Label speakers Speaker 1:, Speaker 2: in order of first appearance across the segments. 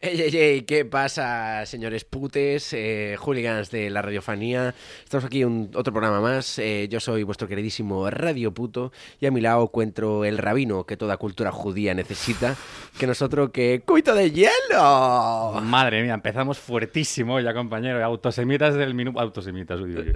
Speaker 1: Ey, ey, ey, ¿qué pasa, señores putes, eh, hooligans de la radiofanía? Estamos aquí en otro programa más. Eh, yo soy vuestro queridísimo Radio Puto y a mi lado encuentro el rabino que toda cultura judía necesita, que nosotros que... ¡Cuito de hielo!
Speaker 2: Madre mía, empezamos fuertísimo ya, compañero. Autosemitas del minuto. Autosemitas, digo yo.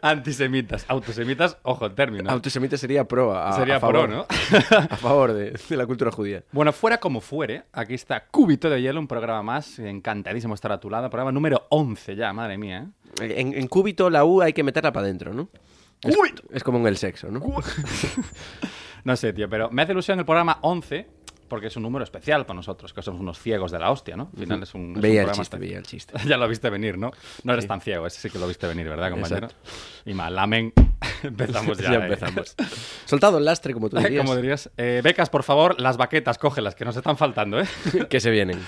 Speaker 2: Antisemitas. Autosemitas, ojo, término.
Speaker 1: Autosemita sería pro. A, a
Speaker 2: Sería
Speaker 1: favor,
Speaker 2: pro, ¿no?
Speaker 1: A favor de, de la cultura judía.
Speaker 2: Bueno, fuera como fuere, aquí está Cúbito de Hielo, un programa más. Encantadísimo estar a tu lado. Programa número 11 ya, madre mía. ¿eh?
Speaker 1: En, en cúbito la U hay que meterla para adentro, ¿no? Es,
Speaker 2: Cúbito.
Speaker 1: es como en el sexo, ¿no?
Speaker 2: No sé, tío, pero me hace ilusión el programa 11 porque es un número especial para nosotros, que somos unos ciegos de la hostia, ¿no? Al final es un, es un
Speaker 1: Veía el
Speaker 2: programa
Speaker 1: chiste,
Speaker 2: hasta-
Speaker 1: veía el chiste.
Speaker 2: Ya lo viste venir, ¿no? No eres tan ciego, ese sí que lo viste venir, ¿verdad, compañero? Y malamen. empezamos ya.
Speaker 1: Ya
Speaker 2: ¿eh?
Speaker 1: empezamos. Soltado el lastre, como tú dirías,
Speaker 2: Como dirías. Eh, becas, por favor, las baquetas, cógelas, que nos están faltando, ¿eh?
Speaker 1: que se vienen.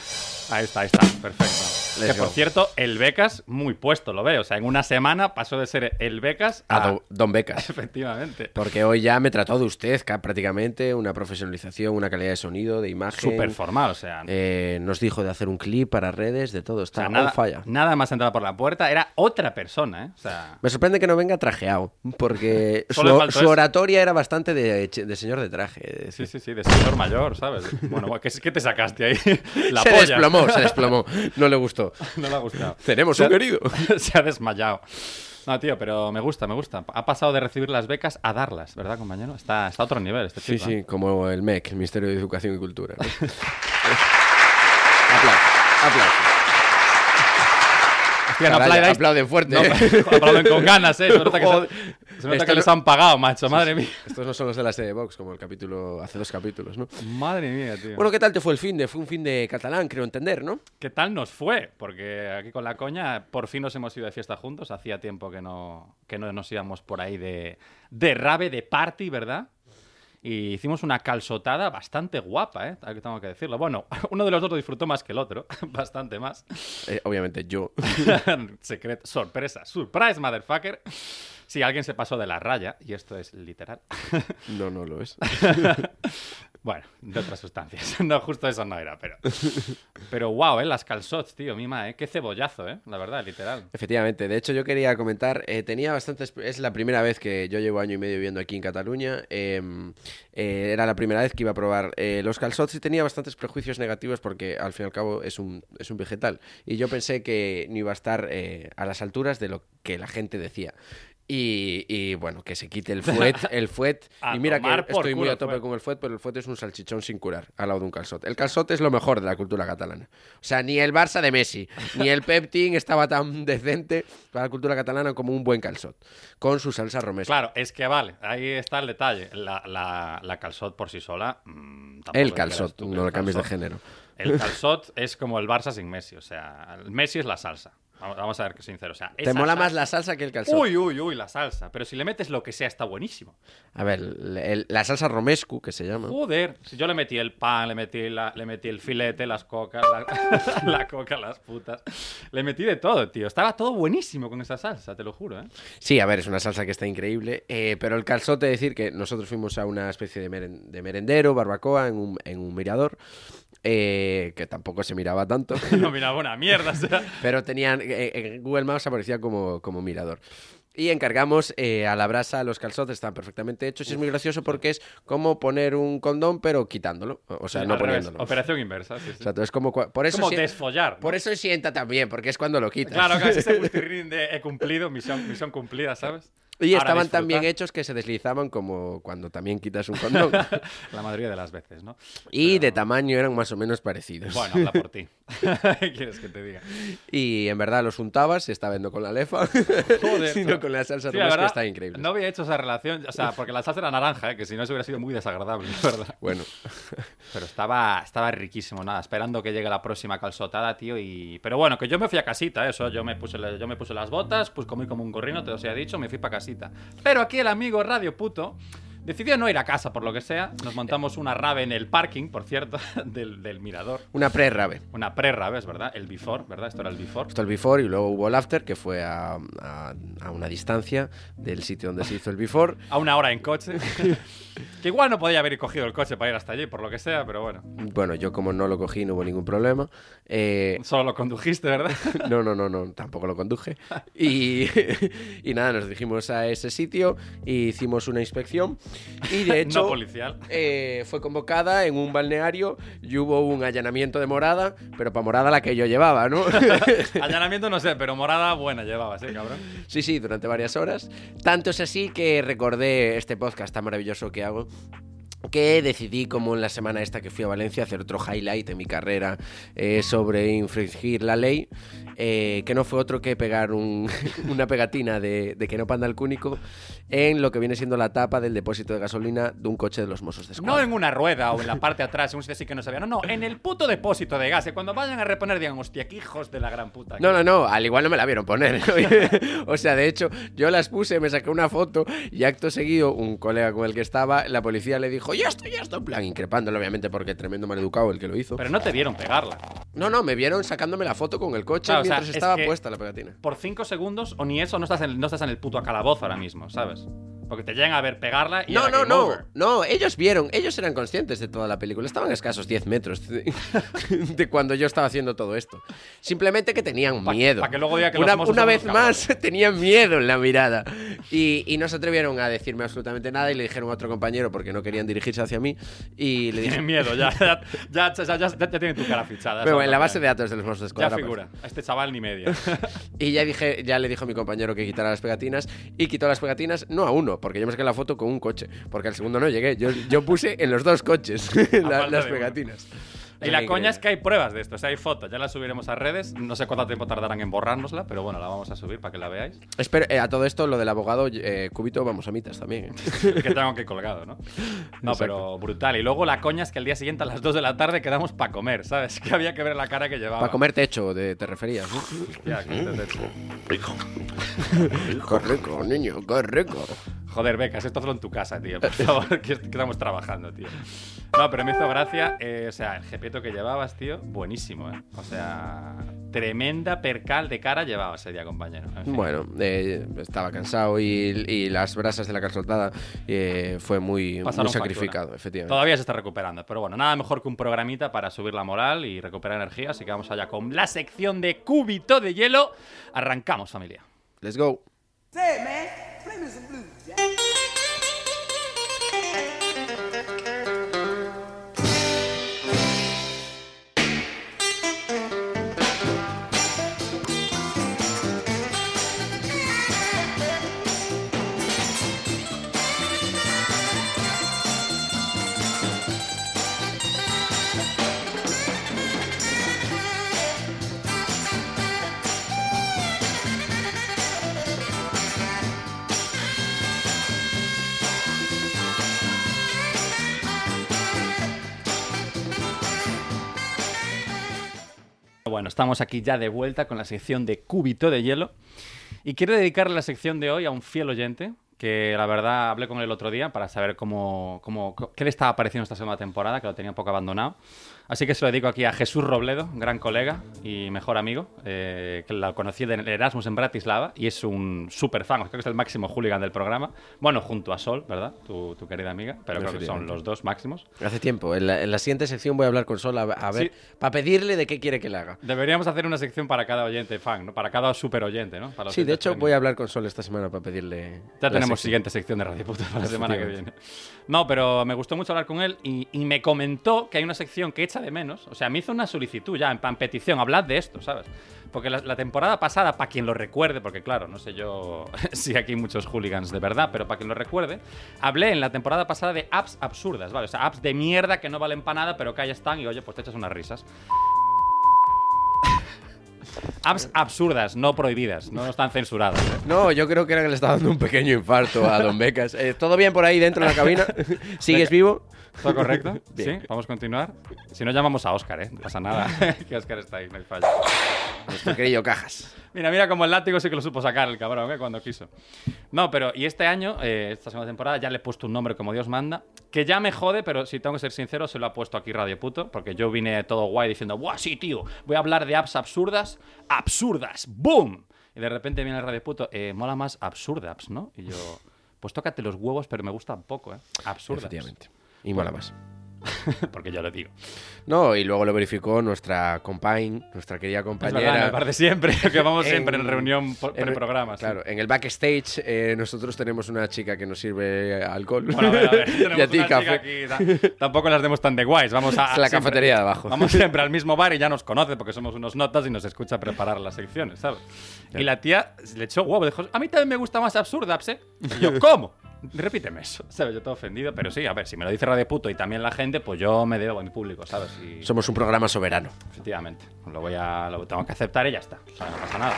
Speaker 2: Ahí está, ahí está, perfecto.
Speaker 1: Let's
Speaker 2: que por
Speaker 1: go.
Speaker 2: cierto, el becas, muy puesto, lo veo. O sea, en una semana pasó de ser el becas
Speaker 1: A
Speaker 2: a.
Speaker 1: don- Don Becas.
Speaker 2: Efectivamente.
Speaker 1: Porque hoy ya me trató de usted, ca- prácticamente, una profesionalización, una calidad de sonido, de imagen.
Speaker 2: Súper formal, o sea.
Speaker 1: Eh, nos dijo de hacer un clip para redes, de todo. Está
Speaker 2: o sea,
Speaker 1: on
Speaker 2: nada,
Speaker 1: fire.
Speaker 2: nada más entrar por la puerta, era otra persona, ¿eh? O sea,
Speaker 1: Me sorprende que no venga trajeado, porque su,
Speaker 2: Solo le faltó
Speaker 1: su
Speaker 2: eso.
Speaker 1: oratoria era bastante de, de señor de traje. es
Speaker 2: sí,
Speaker 1: decir,
Speaker 2: sí, sí, de señor mayor, ¿sabes? Bueno, ¿qué, qué te sacaste ahí? La
Speaker 1: se
Speaker 2: polla.
Speaker 1: desplomó, se desplomó. No le gustó.
Speaker 2: No le ha gustado.
Speaker 1: Tenemos
Speaker 2: Se
Speaker 1: un
Speaker 2: ha-
Speaker 1: querido.
Speaker 2: Se ha desmayado. No, tío, pero me gusta, me gusta. Ha pasado de recibir las becas a darlas, ¿verdad, compañero? Está, está a otro nivel este
Speaker 1: Sí,
Speaker 2: chico. ¿eh?
Speaker 1: sí, como el MEC, el Ministerio de Educación y Cultura. ¿no? aplausos, aplausos.
Speaker 2: Hostia, no
Speaker 1: Caralla,
Speaker 2: aplaudáis.
Speaker 1: aplauden fuerte.
Speaker 2: No,
Speaker 1: ¿eh?
Speaker 2: aplauden con ganas, ¿eh? Se nota que, se-
Speaker 1: Joder.
Speaker 2: se nota
Speaker 1: Esto
Speaker 2: que
Speaker 1: no-
Speaker 2: les han pagado, macho. Madre mía.
Speaker 1: Estos no son los de la sede Vox, como el capítulo, hace dos capítulos, ¿no?
Speaker 2: Madre mía, tío.
Speaker 1: Bueno, ¿qué tal te fue el fin de? Fue un fin de catalán, creo entender, ¿no?
Speaker 2: ¿Qué tal nos fue? Porque aquí con la coña por fin nos hemos ido de fiesta juntos. Hacía tiempo que no, que no nos íbamos por ahí de, de rave, de party, ¿verdad? Y hicimos una calzotada bastante guapa, ¿eh? Tal que Tengo que decirlo. Bueno, uno de los dos lo disfrutó más que el otro, bastante más.
Speaker 1: Eh, obviamente yo.
Speaker 2: Secreto, sorpresa, surprise, motherfucker. Si alguien se pasó de la raya, y esto es literal.
Speaker 1: No, no lo es.
Speaker 2: Bueno, de otras sustancias. No, justo eso no era, pero. Pero wow, ¿eh? Las calzots, tío, mima, ¿eh? Qué cebollazo, ¿eh? La verdad, literal.
Speaker 1: Efectivamente, de hecho yo quería comentar, eh, tenía bastantes, es la primera vez que yo llevo año y medio viviendo aquí en Cataluña, eh, eh, era la primera vez que iba a probar eh, los calzots y tenía bastantes prejuicios negativos porque al fin y al cabo es un, es un vegetal y yo pensé que no iba a estar eh, a las alturas de lo que la gente decía. Y, y, bueno, que se quite el fuet, el fuet.
Speaker 2: A
Speaker 1: y mira que
Speaker 2: tomar por
Speaker 1: estoy muy
Speaker 2: culo
Speaker 1: a
Speaker 2: el
Speaker 1: tope
Speaker 2: fuet.
Speaker 1: con el fuet, pero el fuet es un salchichón sin curar al lado de un calzot. El calzot es lo mejor de la cultura catalana. O sea, ni el Barça de Messi, ni el Pep Team estaba tan decente para la cultura catalana como un buen calzot, con su salsa romesa.
Speaker 2: Claro, es que vale, ahí está el detalle. La, la, la calzot por sí sola. mm, tampoco
Speaker 1: el
Speaker 2: le creas
Speaker 1: calzot,
Speaker 2: tú que
Speaker 1: no
Speaker 2: el
Speaker 1: lo cambies de
Speaker 2: calzot-
Speaker 1: género.
Speaker 2: El calzot es como el Barça sin Messi, o sea, el Messi es la salsa. Vamos, vamos a ver que sincero, o sea,
Speaker 1: Te
Speaker 2: esa
Speaker 1: mola más
Speaker 2: salsa-
Speaker 1: la salsa que el calzot.
Speaker 2: Uy, uy, uy, la salsa. Pero si le metes lo que sea, está buenísimo.
Speaker 1: A ver, el- el- la salsa romescu, que se llama.
Speaker 2: Joder, si yo le metí el pan, le metí, la, le metí el filete, las cocas, la, la coca, las putas. Le metí de todo, tío. Estaba todo buenísimo con esa salsa, te lo juro, ¿eh?
Speaker 1: Sí, a ver, es una salsa que está increíble. eh, pero el calzote, decir que nosotros fuimos a una especie de, meren- de merendero, barbacoa, en un, en un mirador, eh, que tampoco se miraba tanto.
Speaker 2: No miraba una mierda, o sea.
Speaker 1: Pero tenían. eh, En Google Maps aparecía como, como mirador. Y encargamos eh, a la brasa los calzotes, están perfectamente hechos. Y es muy gracioso porque es como poner un condón, pero quitándolo. O o sea,
Speaker 2: al
Speaker 1: no
Speaker 2: revés,
Speaker 1: poniéndolo.
Speaker 2: Operación inversa, sí, sí.
Speaker 1: Exacto, es como. cua- Por eso,
Speaker 2: como
Speaker 1: sien-
Speaker 2: desfollar. ¿no?
Speaker 1: por eso sienta también, porque es cuando lo quitas.
Speaker 2: Claro, casi ese gustirrín de he cumplido, misión, misión cumplida, ¿sabes?
Speaker 1: Y
Speaker 2: Ahora
Speaker 1: estaban tan
Speaker 2: disfruta.
Speaker 1: bien hechos que se deslizaban como cuando también quitas un condón.
Speaker 2: La mayoría de las veces, ¿no?
Speaker 1: y
Speaker 2: Pero-
Speaker 1: de tamaño eran más o menos parecidos.
Speaker 2: Bueno, habla por ti. ¿Qué quieres que te diga?
Speaker 1: Y en verdad los untabas, se está viendo con la lefa,
Speaker 2: Joder,
Speaker 1: sino
Speaker 2: tú.
Speaker 1: con la salsa
Speaker 2: Sí,
Speaker 1: de
Speaker 2: la
Speaker 1: que
Speaker 2: verdad,
Speaker 1: está increíble.
Speaker 2: No había hecho esa relación, o sea, porque la salsa era naranja, ¿eh? que si no eso hubiera sido muy desagradable, la ¿verdad?
Speaker 1: Bueno,
Speaker 2: Pero estaba, estaba riquísimo, nada, esperando que llegue la próxima calzotada, tío, y... Pero bueno, que yo me fui a casita, eso, yo me puse, la- yo me puse las botas, pues comí como un gorrino, te os he dicho, me fui para casita. Pero aquí el amigo Radio Puto decidió no ir a casa, por lo que sea, nos montamos una rave en el parking, por cierto, del, del mirador.
Speaker 1: una pre-rave.
Speaker 2: Una pre-rave, es verdad, el before, ¿verdad? Esto era el before.
Speaker 1: Esto el before y luego hubo el after, que fue a, a- a una distancia del sitio donde se hizo el before.
Speaker 2: A una hora en coche. que igual no podía haber cogido el coche para ir hasta allí, por lo que sea, pero bueno.
Speaker 1: Bueno, yo como no lo cogí no hubo ningún problema. Eh,
Speaker 2: Solo lo condujiste, ¿verdad?
Speaker 1: No, no, no, no, tampoco lo conduje. Y, y nada, nos dirigimos a ese sitio y hicimos una inspección. Y de hecho,
Speaker 2: no policial.
Speaker 1: eh, fue convocada en un balneario y hubo un allanamiento de morada, pero para morada la que yo llevaba, ¿no?
Speaker 2: Allanamiento no sé, pero morada buena llevabas, ¿eh, cabrón?
Speaker 1: sí, sí, durante varias horas. Tanto es así que recordé este podcast tan maravilloso que hago. Que decidí, como en la semana esta que fui a Valencia, hacer otro highlight en mi carrera eh, sobre infringir la ley, eh, que no fue otro que pegar un- una pegatina de, de que no panda el cúnico en lo que viene siendo la tapa del depósito de gasolina de un coche de los Mossos de
Speaker 2: No
Speaker 1: Escuadra.
Speaker 2: en una rueda o en la parte de atrás, en un sitio así que no sabía. No, no, en el puto depósito de gas. Y Cuando vayan a reponer, digan, hostia, qué hijos de la gran puta.
Speaker 1: No, no, no, al igual no me la vieron poner. o sea, de hecho, yo las puse, me saqué una foto y acto seguido, un colega con el que estaba, la policía le dijo, ya estoy, ya estoy, en plan, increpándolo, obviamente, porque tremendo maleducado el que lo hizo.
Speaker 2: Pero no te vieron pegarla.
Speaker 1: No, no, me vieron sacándome la foto con el coche
Speaker 2: Claro, o sea,
Speaker 1: mientras
Speaker 2: es
Speaker 1: estaba
Speaker 2: que-
Speaker 1: puesta la pegatina.
Speaker 2: Por cinco segundos, o ni eso, no estás en, no estás en el puto calabozo ahora mismo, ¿sabes? Porque te llegan a ver pegarla y
Speaker 1: No,
Speaker 2: era
Speaker 1: no,
Speaker 2: game
Speaker 1: no,
Speaker 2: over.
Speaker 1: no, ellos vieron, ellos eran conscientes de toda la película, estaban a escasos 10 metros de, de cuando yo estaba haciendo todo esto. Simplemente que tenían
Speaker 2: Pa-
Speaker 1: miedo.
Speaker 2: pa' que luego diga que los
Speaker 1: una
Speaker 2: famosos
Speaker 1: una
Speaker 2: son
Speaker 1: vez
Speaker 2: unos cabrones.
Speaker 1: más tenían miedo en la mirada y, y no se atrevieron a decirme absolutamente nada y le dijeron a otro compañero porque no querían dirigirse hacia mí y le dije,
Speaker 2: Tienen miedo, ya, ya, ya, ya, ya- ya tienen tu cara fichada.
Speaker 1: pero
Speaker 2: eso
Speaker 1: en la
Speaker 2: no
Speaker 1: base
Speaker 2: te-
Speaker 1: de datos de los monstruos de
Speaker 2: Ya
Speaker 1: Escuadra aparece.
Speaker 2: figura, a este chaval ni media.
Speaker 1: Y ya dije, ya le dijo a mi compañero que quitara las pegatinas y quitó las pegatinas, no a uno, porque yo me saqué la foto con un coche, porque al segundo no llegué. Yo, yo puse en los dos coches la-
Speaker 2: falta
Speaker 1: las
Speaker 2: de uno.
Speaker 1: pegatinas.
Speaker 2: Y la coña es que hay pruebas de esto, o sea, hay fotos, ya las subiremos a redes, no sé cuánto tiempo tardarán en borrárnosla, pero bueno, la vamos a subir para que la veáis,
Speaker 1: Espero, eh, a todo esto, lo del abogado eh, Cubito, vamos a mitas también. eh.
Speaker 2: que tengo que colgado, ¿no? No, pero brutal. Y luego la coña es que el día siguiente a las 2 de la tarde quedamos para comer, ¿sabes? Que había que ver la cara que llevaba.
Speaker 1: Para comer techo, de, te referías. ¿no?
Speaker 2: Hostia, que este techo.
Speaker 1: qué rico, niño, qué rico.
Speaker 2: Joder, becas, esto hazlo en tu casa, tío. Por favor, que est- que estamos trabajando, tío. No, pero me hizo gracia, eh, o sea, el jepeto que llevabas, tío, buenísimo, ¿eh? O sea, tremenda percal de cara llevabas ese día, compañero. En fin.
Speaker 1: Bueno, eh, estaba cansado y, y las brasas de la calzotada eh, fue muy, muy
Speaker 2: Pasaron
Speaker 1: sacrificado,
Speaker 2: factura.
Speaker 1: efectivamente.
Speaker 2: Todavía se está recuperando, pero bueno, nada mejor que un programita para subir la moral y recuperar energía, así que vamos allá con la sección de cúbito de hielo. Arrancamos, familia.
Speaker 1: Let's go.
Speaker 3: Say, man, play me some blues, Jack.
Speaker 2: Bueno, estamos aquí ya de vuelta con la sección de cúbito de hielo y quiero dedicar la sección de hoy a un fiel oyente que la verdad hablé con él el otro día para saber cómo, cómo qué le estaba pareciendo esta segunda temporada, que lo tenía un poco abandonado. Así que se lo dedico aquí a Jesús Robledo, gran colega y mejor amigo, eh, que la conocí en el Erasmus en Bratislava y es un super fan, creo que es el máximo hooligan del programa. Bueno, junto a Sol, ¿verdad? Tu, tu querida amiga, pero creo que son
Speaker 1: Efectivamente.
Speaker 2: los dos máximos.
Speaker 1: Hace tiempo. En la, en la siguiente sección voy a hablar con Sol a, a ver, para pedirle de qué quiere que le haga.
Speaker 2: Deberíamos hacer una sección para cada oyente fan, ¿no? Para cada super oyente, ¿no? Para los
Speaker 1: Sí, de
Speaker 2: oyentes
Speaker 1: hecho
Speaker 2: premium.
Speaker 1: voy a hablar con Sol esta semana para pedirle
Speaker 2: Ya
Speaker 1: la
Speaker 2: tenemos tenemos
Speaker 1: sección.
Speaker 2: siguiente sección de Radio Puta para la semana que viene. No, pero me gustó mucho hablar con él y, y me comentó que hay una sección que echa de menos. O sea, me hizo una solicitud ya, en plan petición, hablad de esto, ¿sabes? Porque la, la temporada pasada, para quien lo recuerde, porque claro, no sé yo si aquí hay muchos hooligans de verdad, pero para quien lo recuerde, hablé en la temporada pasada de apps absurdas, ¿vale? O sea, apps de mierda que no valen para nada, pero que ahí están y oye, pues te echas unas risas. Apps absurdas, no prohibidas, no están censuradas. ¿eh?
Speaker 1: No, yo creo que era que le estaba dando un pequeño infarto a Don Becas. Eh, ¿Todo bien por ahí dentro de la cabina? ¿Sigues vivo?
Speaker 2: ¿Todo correcto?
Speaker 1: Bien.
Speaker 2: Sí, vamos a continuar. Si no, llamamos a Oscar, ¿eh? No pasa nada. que Oscar está ahí, no hay fallo. Pues
Speaker 1: Nuestro querido Cajas.
Speaker 2: Mira, mira como el látigo sí que lo supo sacar el cabrón, ¿eh? Cuando quiso. No, pero, y este año, eh, esta segunda temporada, ya le he puesto un nombre como Dios manda, que ya me jode, pero si tengo que ser sincero, se lo ha puesto aquí Radio Puto, porque yo vine todo guay diciendo, ¡buah, sí, tío! Voy a hablar de apps absurdas, absurdas, ¡boom! Y de repente viene el Radio Puto, eh, mola más absurdas, ¿no? Y yo, pues tócate los huevos, pero me gusta poco, ¿eh? Absurdas.
Speaker 1: Efectivamente. Y mola más.
Speaker 2: porque yo lo digo.
Speaker 1: No, y luego lo verificó nuestra compañ, nuestra querida
Speaker 2: Es
Speaker 1: compañera.
Speaker 2: verdad, en el bar de siempre, que vamos
Speaker 1: En-
Speaker 2: siempre en reunión por-
Speaker 1: en-
Speaker 2: pre-programas.
Speaker 1: Claro, en el backstage eh, nosotros tenemos una chica que nos sirve alcohol.
Speaker 2: Bueno, a ver, a ver, tenemos
Speaker 1: y a ti
Speaker 2: una chica
Speaker 1: café.
Speaker 2: aquí, ta- tampoco las demos tan de guays. Vamos a,
Speaker 1: Es la
Speaker 2: siempre-
Speaker 1: cafetería de abajo.
Speaker 2: Vamos siempre al mismo bar y ya nos conoce porque somos unos notas y nos escucha preparar las secciones, ¿sabes? Y la tía le echó huevo, dijo, a mí también me gusta más absurda, ¿eh? Y yo, ¿cómo? Repíteme eso, ¿sabes? Yo todo ofendido, pero sí, a ver, si me lo dice Radio Puto y también la gente, pues yo me debo a mi público, ¿sabes? Y-
Speaker 1: Somos un programa soberano.
Speaker 2: Efectivamente. Lo voy a. Lo tengo que aceptar y ya está. O sea, no pasa nada.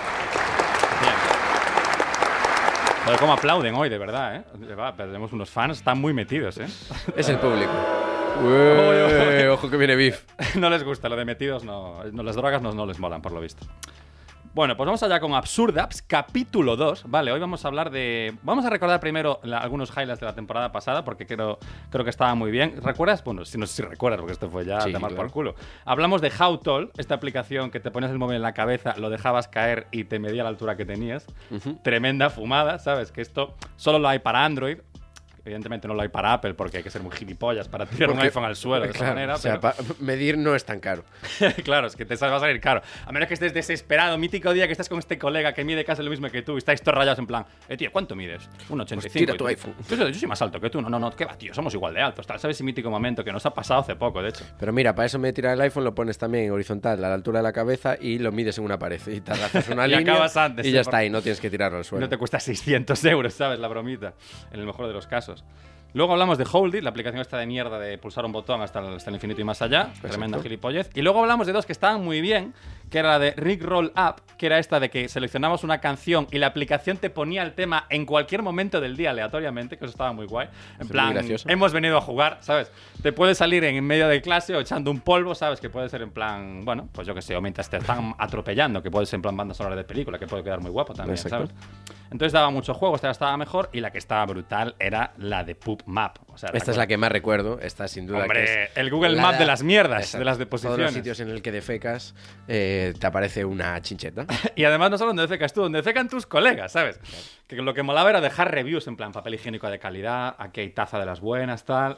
Speaker 2: Bien. Joder, cómo aplauden hoy, de verdad, ¿eh? Va, tenemos unos fans, están muy metidos, ¿eh?
Speaker 1: Es el público. Ué, ojo que viene Biff.
Speaker 2: no les gusta, lo de metidos no. no, las drogas no, no les molan, por lo visto. Bueno, pues vamos allá con Absurdaps, capítulo 2. Vale, hoy vamos a hablar de. Vamos a recordar primero la- algunos highlights de la temporada pasada, porque creo, creo que estaba muy bien. ¿Recuerdas? Bueno, si no sé si recuerdas, porque esto fue ya
Speaker 1: Sí,
Speaker 2: a tomar
Speaker 1: claro.
Speaker 2: por culo. Hablamos de Howtall, esta aplicación que te ponías el móvil en la cabeza, lo dejabas caer y te medía la altura que tenías. Tremenda fumada, ¿sabes? Que esto solo lo hay para Android. Evidentemente no lo hay para Apple, porque hay que ser muy gilipollas para tirar un
Speaker 1: Porque-
Speaker 2: iPhone al suelo de esa
Speaker 1: Claro,
Speaker 2: manera.
Speaker 1: o sea,
Speaker 2: pero-
Speaker 1: pa- medir no es tan caro.
Speaker 2: claro, es que te sal- va a salir caro. A menos que estés desesperado, mítico día que estás con este colega que mide casi lo mismo que tú y estáis todos rayados en plan, eh, tío, ¿cuánto mides? 1,85.
Speaker 1: Pues tira
Speaker 2: Y
Speaker 1: tu
Speaker 2: tú,
Speaker 1: iPhone.
Speaker 2: Yo, soy- yo soy más alto que tú. No, no, no, ¿qué va, tío? Somos igual de altos. Tal. ¿Sabes ese mítico momento que nos ha pasado hace poco, de hecho?
Speaker 1: Pero mira, para eso me tirar el iPhone, lo pones también en horizontal, a la altura de la cabeza, y lo mides en una pared. Y te haces una
Speaker 2: Y
Speaker 1: línea.
Speaker 2: acabas antes,
Speaker 1: y
Speaker 2: sí,
Speaker 1: ya
Speaker 2: por-
Speaker 1: está, y no tienes que tirarlo al suelo.
Speaker 2: No te cuesta 600 euros, ¿sabes? La bromita, en el mejor de los casos. Luego hablamos de Hold It, la aplicación esta de mierda de pulsar un botón hasta el, hasta el infinito y más allá. Tremenda gilipollez. Y luego hablamos de dos que estaban muy bien, que era la de Rick Roll Up, que era esta de que seleccionabas una canción y la aplicación te ponía el tema en cualquier momento del día aleatoriamente, que eso estaba muy guay. En
Speaker 1: muy
Speaker 2: plan,
Speaker 1: gracioso.
Speaker 2: hemos venido a jugar, ¿sabes? Te puede salir en medio de clase o echando un polvo, ¿sabes? Que puede ser en plan, bueno, pues yo que sé, o mientras te están atropellando, que puede ser en plan banda sonora de película, que puede quedar muy guapo también,
Speaker 1: Exacto.
Speaker 2: ¿sabes? Entonces daba mucho juego, esta estaba mejor y la que estaba brutal era la de Pub Map. O sea,
Speaker 1: Esta es la que más recuerdo, esta sin duda.
Speaker 2: Hombre,
Speaker 1: que es
Speaker 2: el Google
Speaker 1: la
Speaker 2: Map de las mierdas, de las
Speaker 1: Todos los
Speaker 2: deposiciones.
Speaker 1: sitios en el que defecas eh, te aparece una chincheta.
Speaker 2: Y además no solo donde dececas tú, donde cecan tus colegas, ¿sabes? Que lo que molaba era dejar reviews en plan papel higiénico de calidad, aquí hay taza de las buenas, tal.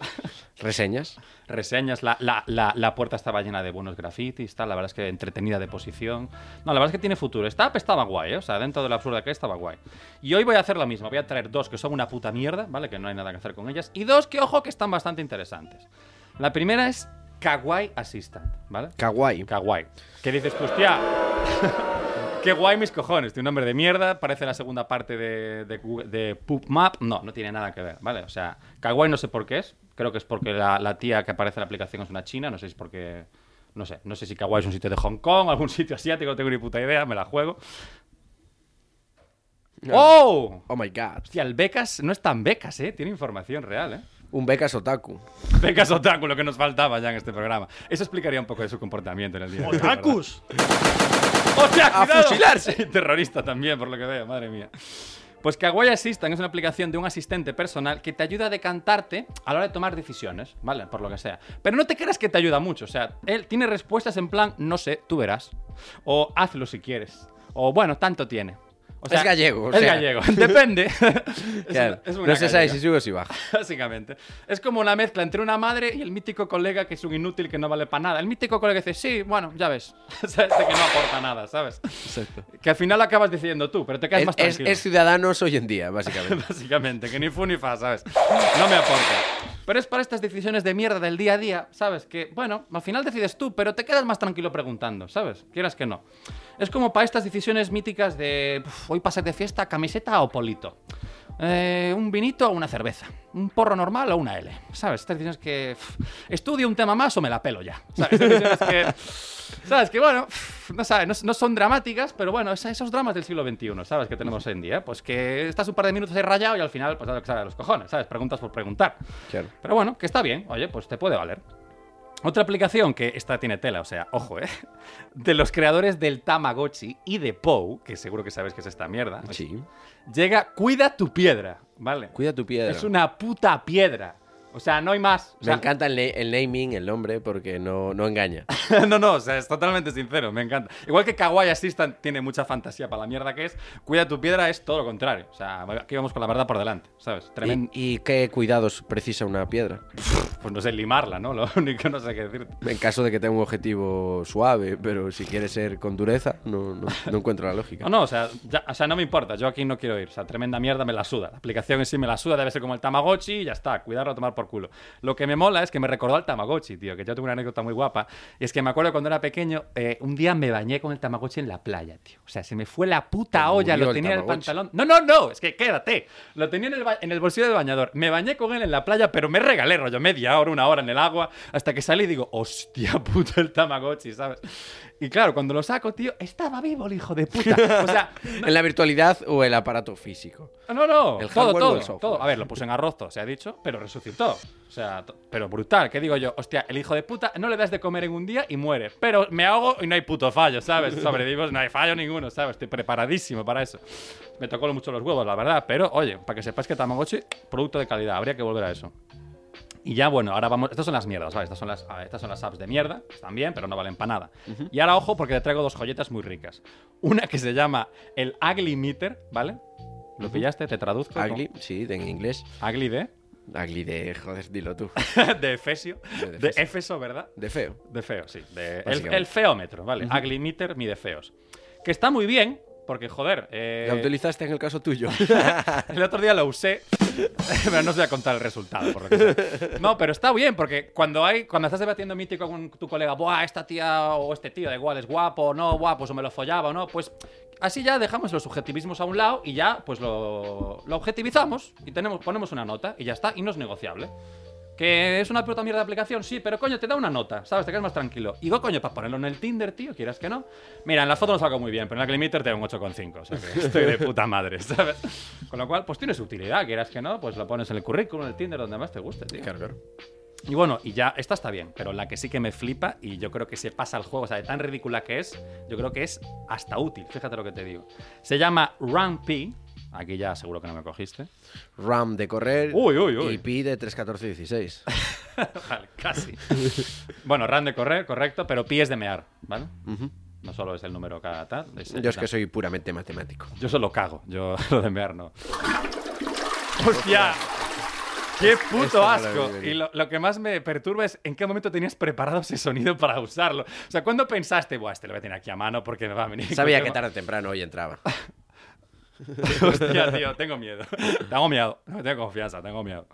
Speaker 1: Reseñas.
Speaker 2: reseñas. La, la- la- la puerta estaba llena de buenos grafitis, tal. La verdad es que entretenida de posición. No, la verdad es que tiene futuro. Esta app estaba guay, ¿eh? O sea, dentro de la absurda que es, estaba guay. Y hoy voy a hacer lo mismo. Voy a traer dos que son una puta mierda, ¿vale? Que no hay nada que hacer con ellas. Y dos que, ojo, que están bastante interesantes. La primera es Kawaii Assistant, ¿vale?
Speaker 1: Kawaii.
Speaker 2: Kawaii. Que dices, tú, hostia. Qué guay mis cojones, tiene un nombre de mierda, parece la segunda parte de, de, Google- de Poop Map. No, no tiene nada que ver, ¿vale? O sea, Kawaii no sé por qué es, creo que es porque la, la tía que aparece en la aplicación es una china, no sé si es porque, no sé, no sé si Kawaii es un sitio de Hong Kong, algún sitio asiático, no tengo ni puta idea, me la juego. ¡Oh!
Speaker 1: Oh my god.
Speaker 2: Hostia, el Becas no es tan Becas, ¿eh? Tiene información real, ¿eh?
Speaker 1: Un becas otaku.
Speaker 2: Becas Otaku, lo que nos faltaba ya en este programa. Eso explicaría un poco de su comportamiento en el día. de hoy, la verdad.
Speaker 4: ¡Otakus!
Speaker 2: ¡Hostia,
Speaker 1: ¡A
Speaker 2: cuidado!
Speaker 1: fusilarse!
Speaker 2: Terrorista también, por lo que veo, madre mía. Pues Kawaii Assistant es una aplicación de un asistente personal que te ayuda a decantarte a la hora de tomar decisiones, ¿vale? Por lo que sea. Pero no te creas que te ayuda mucho, o sea, él tiene respuestas en plan, no sé, tú verás. O hazlo si quieres. O bueno, tanto tiene. O sea,
Speaker 1: Es gallego, o
Speaker 2: es
Speaker 1: sea.
Speaker 2: gallego, depende. Es una-
Speaker 1: Claro,
Speaker 2: es una
Speaker 1: no se sabe
Speaker 2: gallega.
Speaker 1: si sube o si baja.
Speaker 2: Básicamente. Es como una mezcla entre una madre y el mítico colega que es un inútil que no vale para nada. El mítico colega que dice, sí, bueno, ya ves. O sea, este que no aporta nada, ¿sabes?
Speaker 1: Exacto.
Speaker 2: Que al final acabas decidiendo tú, pero te quedas
Speaker 1: Es,
Speaker 2: más
Speaker 1: es-
Speaker 2: tranquilo.
Speaker 1: es ciudadanos hoy en día, básicamente.
Speaker 2: Básicamente, que ni fu ni fa, ¿sabes? No me aporta. Pero es para estas decisiones de mierda del día a día, ¿sabes? Que, bueno, al final decides tú, pero te quedas más tranquilo preguntando, ¿sabes? Quieras que no. Es como para estas decisiones míticas de, "Uf, hoy pasar de fiesta, camiseta o polito. Eh, un vinito o una cerveza. Un porro normal o una L. ¿Sabes? Estas decisiones que, "Uf, estudio un tema más o me la pelo ya. ¿Sabes? Estas decisiones que... ¿Sabes? Que bueno, no, sabes, no, no son dramáticas, pero bueno, esa- esos dramas del siglo XXI, ¿sabes? Que tenemos hoy en día. Pues que estás un par de minutos ahí rayado y al final, pues, a lo que sale de los cojones, ¿sabes? Preguntas por preguntar.
Speaker 1: Claro.
Speaker 2: Pero bueno, que está bien, oye, pues te puede valer. Otra aplicación que esta tiene tela, o sea, ojo, ¿eh? De los creadores del Tamagotchi y de Pou, que seguro que sabes que es esta mierda.
Speaker 1: Sí.
Speaker 2: Llega Cuida tu piedra, ¿vale?
Speaker 1: Cuida tu piedra.
Speaker 2: Es una puta piedra. O sea, no hay más. O
Speaker 1: Me
Speaker 2: sea,
Speaker 1: encanta el, na- el naming, el nombre, porque no, no engaña.
Speaker 2: no, no, o sea, es totalmente sincero, me encanta. Igual que Kawaii Assistant tiene mucha fantasía para la mierda que es, Cuida tu piedra es todo lo contrario. O sea, aquí vamos con la verdad por delante, ¿sabes?
Speaker 1: ¿Y,
Speaker 2: Tremendo.
Speaker 1: y qué cuidados precisa una piedra?
Speaker 2: Pues no sé, limarla, ¿no? Lo único, no sé qué decirte.
Speaker 1: En caso de que tenga un objetivo suave, pero si quiere ser con dureza, no, no- no encuentro la lógica.
Speaker 2: Ah, No, no, o sea, ya- o sea, no me importa, yo aquí no quiero ir. O sea, tremenda mierda me la suda. La aplicación en sí me la suda, debe ser como el Tamagotchi y ya está, cuidarlo, tomar por culo. Lo que me mola es que me recordó al Tamagotchi, tío, que yo tengo una anécdota muy guapa. Y es que me acuerdo cuando era pequeño, eh, un día me bañé con el Tamagotchi en la playa, tío. O sea, se me fue la puta
Speaker 1: Te
Speaker 2: olla,
Speaker 1: murió
Speaker 2: lo
Speaker 1: el
Speaker 2: tenía en el
Speaker 1: Tamagotchi.
Speaker 2: pantalón. No, no, no, es que quédate. Lo tenía en el, ba- en el bolsillo del bañador. Me bañé con él en la playa, pero me regalé rollo media hora, una hora en el agua, hasta que salí y digo, hostia puta el Tamagotchi, ¿sabes? Y claro, cuando lo saco, tío, estaba vivo el hijo de puta. O sea,
Speaker 1: ¿En la virtualidad o el aparato físico?
Speaker 2: Ah, no, no,
Speaker 1: El
Speaker 2: todo,
Speaker 1: hardware o
Speaker 2: todo,
Speaker 1: el software.
Speaker 2: todo. A ver, lo puse en arrozo, se ha dicho, pero resucitó. O sea, to- pero brutal, ¿qué digo yo? Hostia, el hijo de puta no le das de comer en un día y muere. Pero me ahogo y no hay puto fallo, ¿sabes? Sobrevivimos, no hay fallo ninguno, ¿sabes? Estoy preparadísimo para eso. Me tocó mucho los huevos, la verdad, pero oye, para que sepáis que Tamagotchi, producto de calidad, habría que volver a eso. Y ya, bueno, ahora vamos. Estas son las mierdas, ¿sabes? Estas son las, ah, estas son las apps de mierda, están bien, pero no valen para nada. Y ahora, ojo, porque te traigo dos joyetas muy ricas. Una que se llama el Ugly Meter, ¿vale? ¿Lo pillaste? ¿Te traduzco?
Speaker 1: Ugly, sí, en inglés.
Speaker 2: Ugly de.
Speaker 1: Ugly de, joder, dilo tú.
Speaker 2: de Efesio.
Speaker 1: De
Speaker 2: De
Speaker 1: Efesio.
Speaker 2: Éfeso, ¿verdad?
Speaker 1: De feo.
Speaker 2: De feo, sí. de- el,
Speaker 1: Básicamente.
Speaker 2: el feómetro, ¿vale? Ugly Meter mide feos. Que está muy bien, porque, joder. eh,
Speaker 1: La utilizaste en el caso tuyo.
Speaker 2: El otro día lo usé, pero no os voy a contar el resultado, por lo que sea. No, pero está bien, porque cuando hay, cuando estás debatiendo mítico con tu colega, buah, esta tía o este tío, da igual, es guapo o no, guapo, o me lo follaba o no, pues así ya dejamos los subjetivismos a un lado y ya, pues lo, lo objetivizamos y tenemos, ponemos una nota y ya está, y no es negociable. Que es una puta mierda de aplicación, sí, pero coño, te da una nota, ¿sabes? Te quedas más tranquilo. Y digo, coño, para ponerlo en el Tinder, tío, quieras que no. Mira, en las fotos no salgo muy bien, pero en la Climeter tengo un 8,5, o sea que estoy de puta madre, ¿sabes? Con lo cual, pues tiene su utilidad, quieras que no, pues lo pones en el currículum, en el Tinder, donde más te guste, tío. Y bueno, y ya, esta está bien, pero la que sí que me flipa y yo creo que se pasa al juego, o sea, de tan ridícula que es, yo creo que es hasta útil, fíjate lo que te digo. Se llama Run P, aquí ya seguro que no me cogiste.
Speaker 1: RAM de correr
Speaker 2: Uy, uy, uy.
Speaker 1: y pi de 3.14.16.
Speaker 2: Vale, casi. bueno, run de correr, correcto, pero pi es de mear, ¿vale?
Speaker 1: Ujú.
Speaker 2: No solo es el número cada tal. es-
Speaker 1: Yo es que
Speaker 2: tal.
Speaker 1: soy puramente matemático.
Speaker 2: Yo solo cago, yo lo de mear no. ¡Hostia! ¡Qué
Speaker 1: Esto no
Speaker 2: puto
Speaker 1: lo
Speaker 2: asco!
Speaker 1: vi venir.
Speaker 2: Y lo, lo que más me perturba es en qué momento tenías preparado ese sonido para usarlo. O sea, ¿cuándo pensaste, buah, este lo voy a tener aquí a mano porque me va a venir?
Speaker 1: Sabía que
Speaker 2: cualquier
Speaker 1: tarde o temprano hoy entraba.
Speaker 2: Hostia, tío, tengo miedo. Tengo miedo. No tengo confianza, tengo miedo.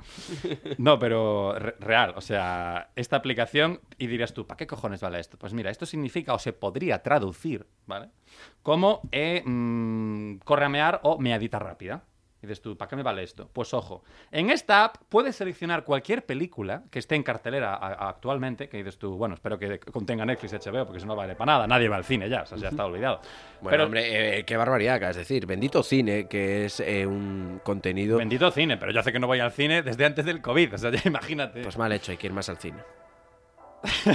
Speaker 2: No, pero re- real, o sea, esta aplicación, y dirás tú, ¿para qué cojones vale esto? Pues mira, esto significa o se podría traducir, ¿vale? Como eh, mm, corramear o meadita rápida. Y dices tú, ¿para qué me vale esto? Pues ojo, en esta app puedes seleccionar cualquier película que esté en cartelera a- a- actualmente, que dices tú, bueno, espero que contenga Netflix, HBO, porque si no vale para nada, nadie va al cine ya, o sea, ya está olvidado.
Speaker 1: Bueno,
Speaker 2: Pero-
Speaker 1: hombre, eh, qué barbaridad acabas de decir. Bendito cine, que es eh, un contenido
Speaker 2: Bendito cine, pero yo hace que no voy al cine desde antes del COVID, o sea, ya imagínate.
Speaker 1: pues mal hecho, hay que ir más al cine.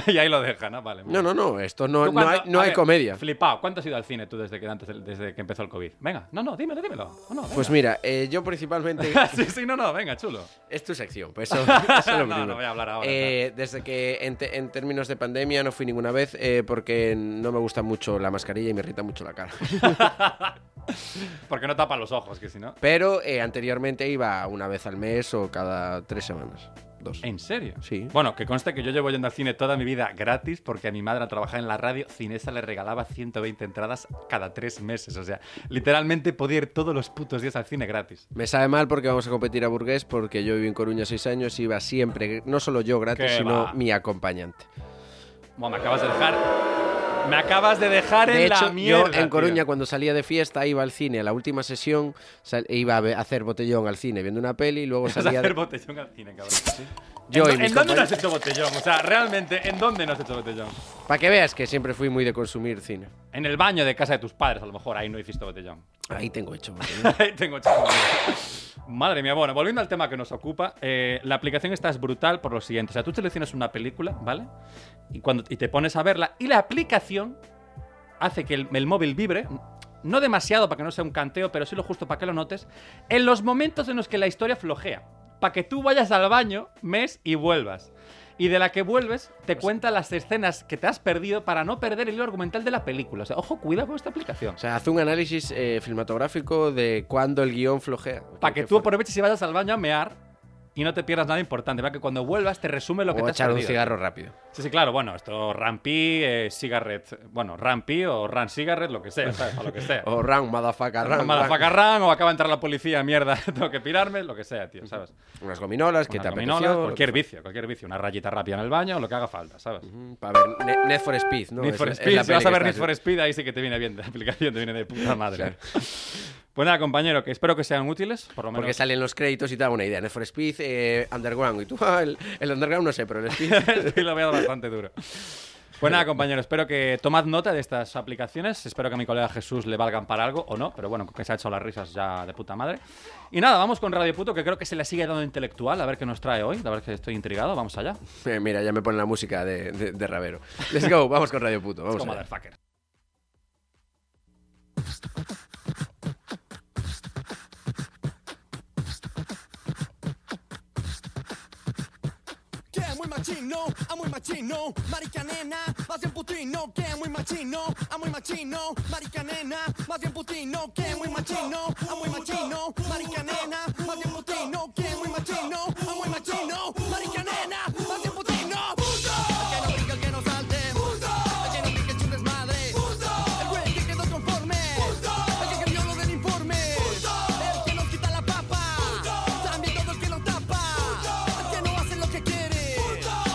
Speaker 2: y ahí lo deja, ¿no? Vale.
Speaker 1: No, no, no, esto no,
Speaker 2: Tú
Speaker 1: no hay,
Speaker 2: cuando-
Speaker 1: no
Speaker 2: a
Speaker 1: hay
Speaker 2: ver,
Speaker 1: comedia.
Speaker 2: Flipao, ¿cuánto has ido al cine tú desde que, antes, del- desde que empezó el COVID? Venga, no, no, dímelo, dímelo. Oh, No, no, venga.
Speaker 1: Pues mira, eh, yo principalmente...
Speaker 2: sí, sí, no, no, venga, chulo.
Speaker 1: Es tu sección, pues eso, eso es lo
Speaker 2: No,
Speaker 1: primero.
Speaker 2: no voy a hablar ahora,
Speaker 1: Eh, desde que en, te- en términos de pandemia no fui ninguna vez eh, porque no me gusta mucho la mascarilla y me irrita mucho la cara.
Speaker 2: Porque no tapa los ojos, que si no.
Speaker 1: Pero eh, anteriormente iba una vez al mes o cada tres semanas. Dos.
Speaker 2: ¿En serio?
Speaker 1: Sí.
Speaker 2: Bueno, que conste que yo llevo yendo al cine toda mi vida gratis porque a mi madre al trabajar en la radio, Cinesa le regalaba 120 entradas cada tres meses. O sea, literalmente podía ir todos los putos días al cine gratis.
Speaker 1: Me sabe mal porque vamos a competir a Burgués porque yo viví en Coruña seis años y iba siempre, no solo yo gratis,
Speaker 2: ¿Qué
Speaker 1: sino
Speaker 2: va?
Speaker 1: mi acompañante.
Speaker 2: Bueno, me acabas de dejar. Me acabas de dejar en
Speaker 1: De hecho,
Speaker 2: la mierda.
Speaker 1: yo en Coruña
Speaker 2: tío.
Speaker 1: cuando salía de fiesta iba al cine a la última sesión, sal- iba a ve- a hacer botellón al cine viendo una peli y luego
Speaker 2: Vas a
Speaker 1: salía...
Speaker 2: hacer
Speaker 1: de-
Speaker 2: botellón al cine, cabrón.
Speaker 1: Yo y
Speaker 2: ¿En,
Speaker 1: mis
Speaker 2: en dónde no has
Speaker 1: compañeros.
Speaker 2: hecho botellón? O sea, realmente, ¿en dónde no has hecho botellón?
Speaker 1: Para que veas que siempre fui muy de consumir cine.
Speaker 2: En el baño de casa de tus padres, a lo mejor, ahí no hiciste botellón.
Speaker 1: Ahí tengo hecho. botellón.
Speaker 2: Ahí tengo chaval. Madre mía, bueno, volviendo al tema que nos ocupa, eh, la aplicación esta es brutal por lo siguiente. O sea, tú seleccionas una película, ¿vale? Y, cuando, y te pones a verla, y la aplicación hace que el, el móvil vibre, no demasiado para que no sea un canteo, pero sí lo justo para que lo notes, en los momentos en los que la historia flojea, para que tú vayas al baño, mes y vuelvas. Y de la que vuelves, te cuenta las escenas que te has perdido para no perder el hilo argumental de la película. O sea, ojo, cuidado con esta aplicación.
Speaker 1: O sea, hace un análisis eh, filmatográfico de cuándo el guión flojea.
Speaker 2: Para
Speaker 1: Qué
Speaker 2: que tú
Speaker 1: fuerte.
Speaker 2: aproveches y vayas al baño a mear y no te pierdas nada importante. Para que cuando vuelvas te resume lo que
Speaker 1: O
Speaker 2: te has
Speaker 1: echar un
Speaker 2: perdido.
Speaker 1: cigarro rápido.
Speaker 2: Sí, sí, claro. Bueno, esto Rampi, eh, Cigarette. Bueno, Rampi o Ran Cigarette, lo que sea, ¿sabes? O lo que sea.
Speaker 1: O round, motherfucker, round.
Speaker 2: Motherfucker Ran, o acaba de entrar la policía, mierda, tengo que pirarme, lo que sea, tío, ¿sabes?
Speaker 1: Unas gominolas que
Speaker 2: Unas
Speaker 1: te
Speaker 2: gominolas,
Speaker 1: apeteció.
Speaker 2: cualquier vicio, cualquier vicio, una rayita rápida en el baño, lo que haga falta, ¿sabes?
Speaker 1: Para Mm, ver Ne- Need for Speed, ¿no?
Speaker 2: Need
Speaker 1: Es-
Speaker 2: for
Speaker 1: es la
Speaker 2: Speed, si
Speaker 1: peli
Speaker 2: vas a
Speaker 1: que
Speaker 2: ver
Speaker 1: está
Speaker 2: Need for Speed, ahí sí que te viene bien, la aplicación te viene de puta madre.
Speaker 1: Claro.
Speaker 2: Pues nada, compañero, que espero que sean útiles, por lo menos.
Speaker 1: Porque salen los créditos y te da una idea. Need for Speed, eh, Underground. Y tú, ah, el, el Underground no sé, pero el Speed.
Speaker 2: Sí, lo veo bastante duro. Pues nada, compañero, espero que tomad nota de estas aplicaciones. Espero que a mi colega Jesús le valgan para algo o no, pero bueno, que se ha hecho las risas ya de puta madre. Y nada, vamos con Radio Puto, que creo que se le sigue dando intelectual, a ver qué nos trae hoy. La verdad que estoy intrigado, vamos allá.
Speaker 1: Eh, Mira, ya me ponen la música de, de- de Ravero. Let's go, vamos con Radio Puto. Vamos
Speaker 2: Como
Speaker 1: allá.
Speaker 2: motherfucker.
Speaker 4: Que muy machino, ah muy machino, marica nena, más bien putino, que muy machino, ah muy machino, marica nena, más bien putino, que muy machino, ah muy machino, marica nena, más bien putino, que muy machino, ah muy machino, marica nena, más bien putino. El que no pique, el que no salte, el que no pique, es un desmadre, el güey que quedó conforme, el que cambió lo del informe, el que nos quita la papa, también todo el que lo tapa, el que no hace lo que quiere,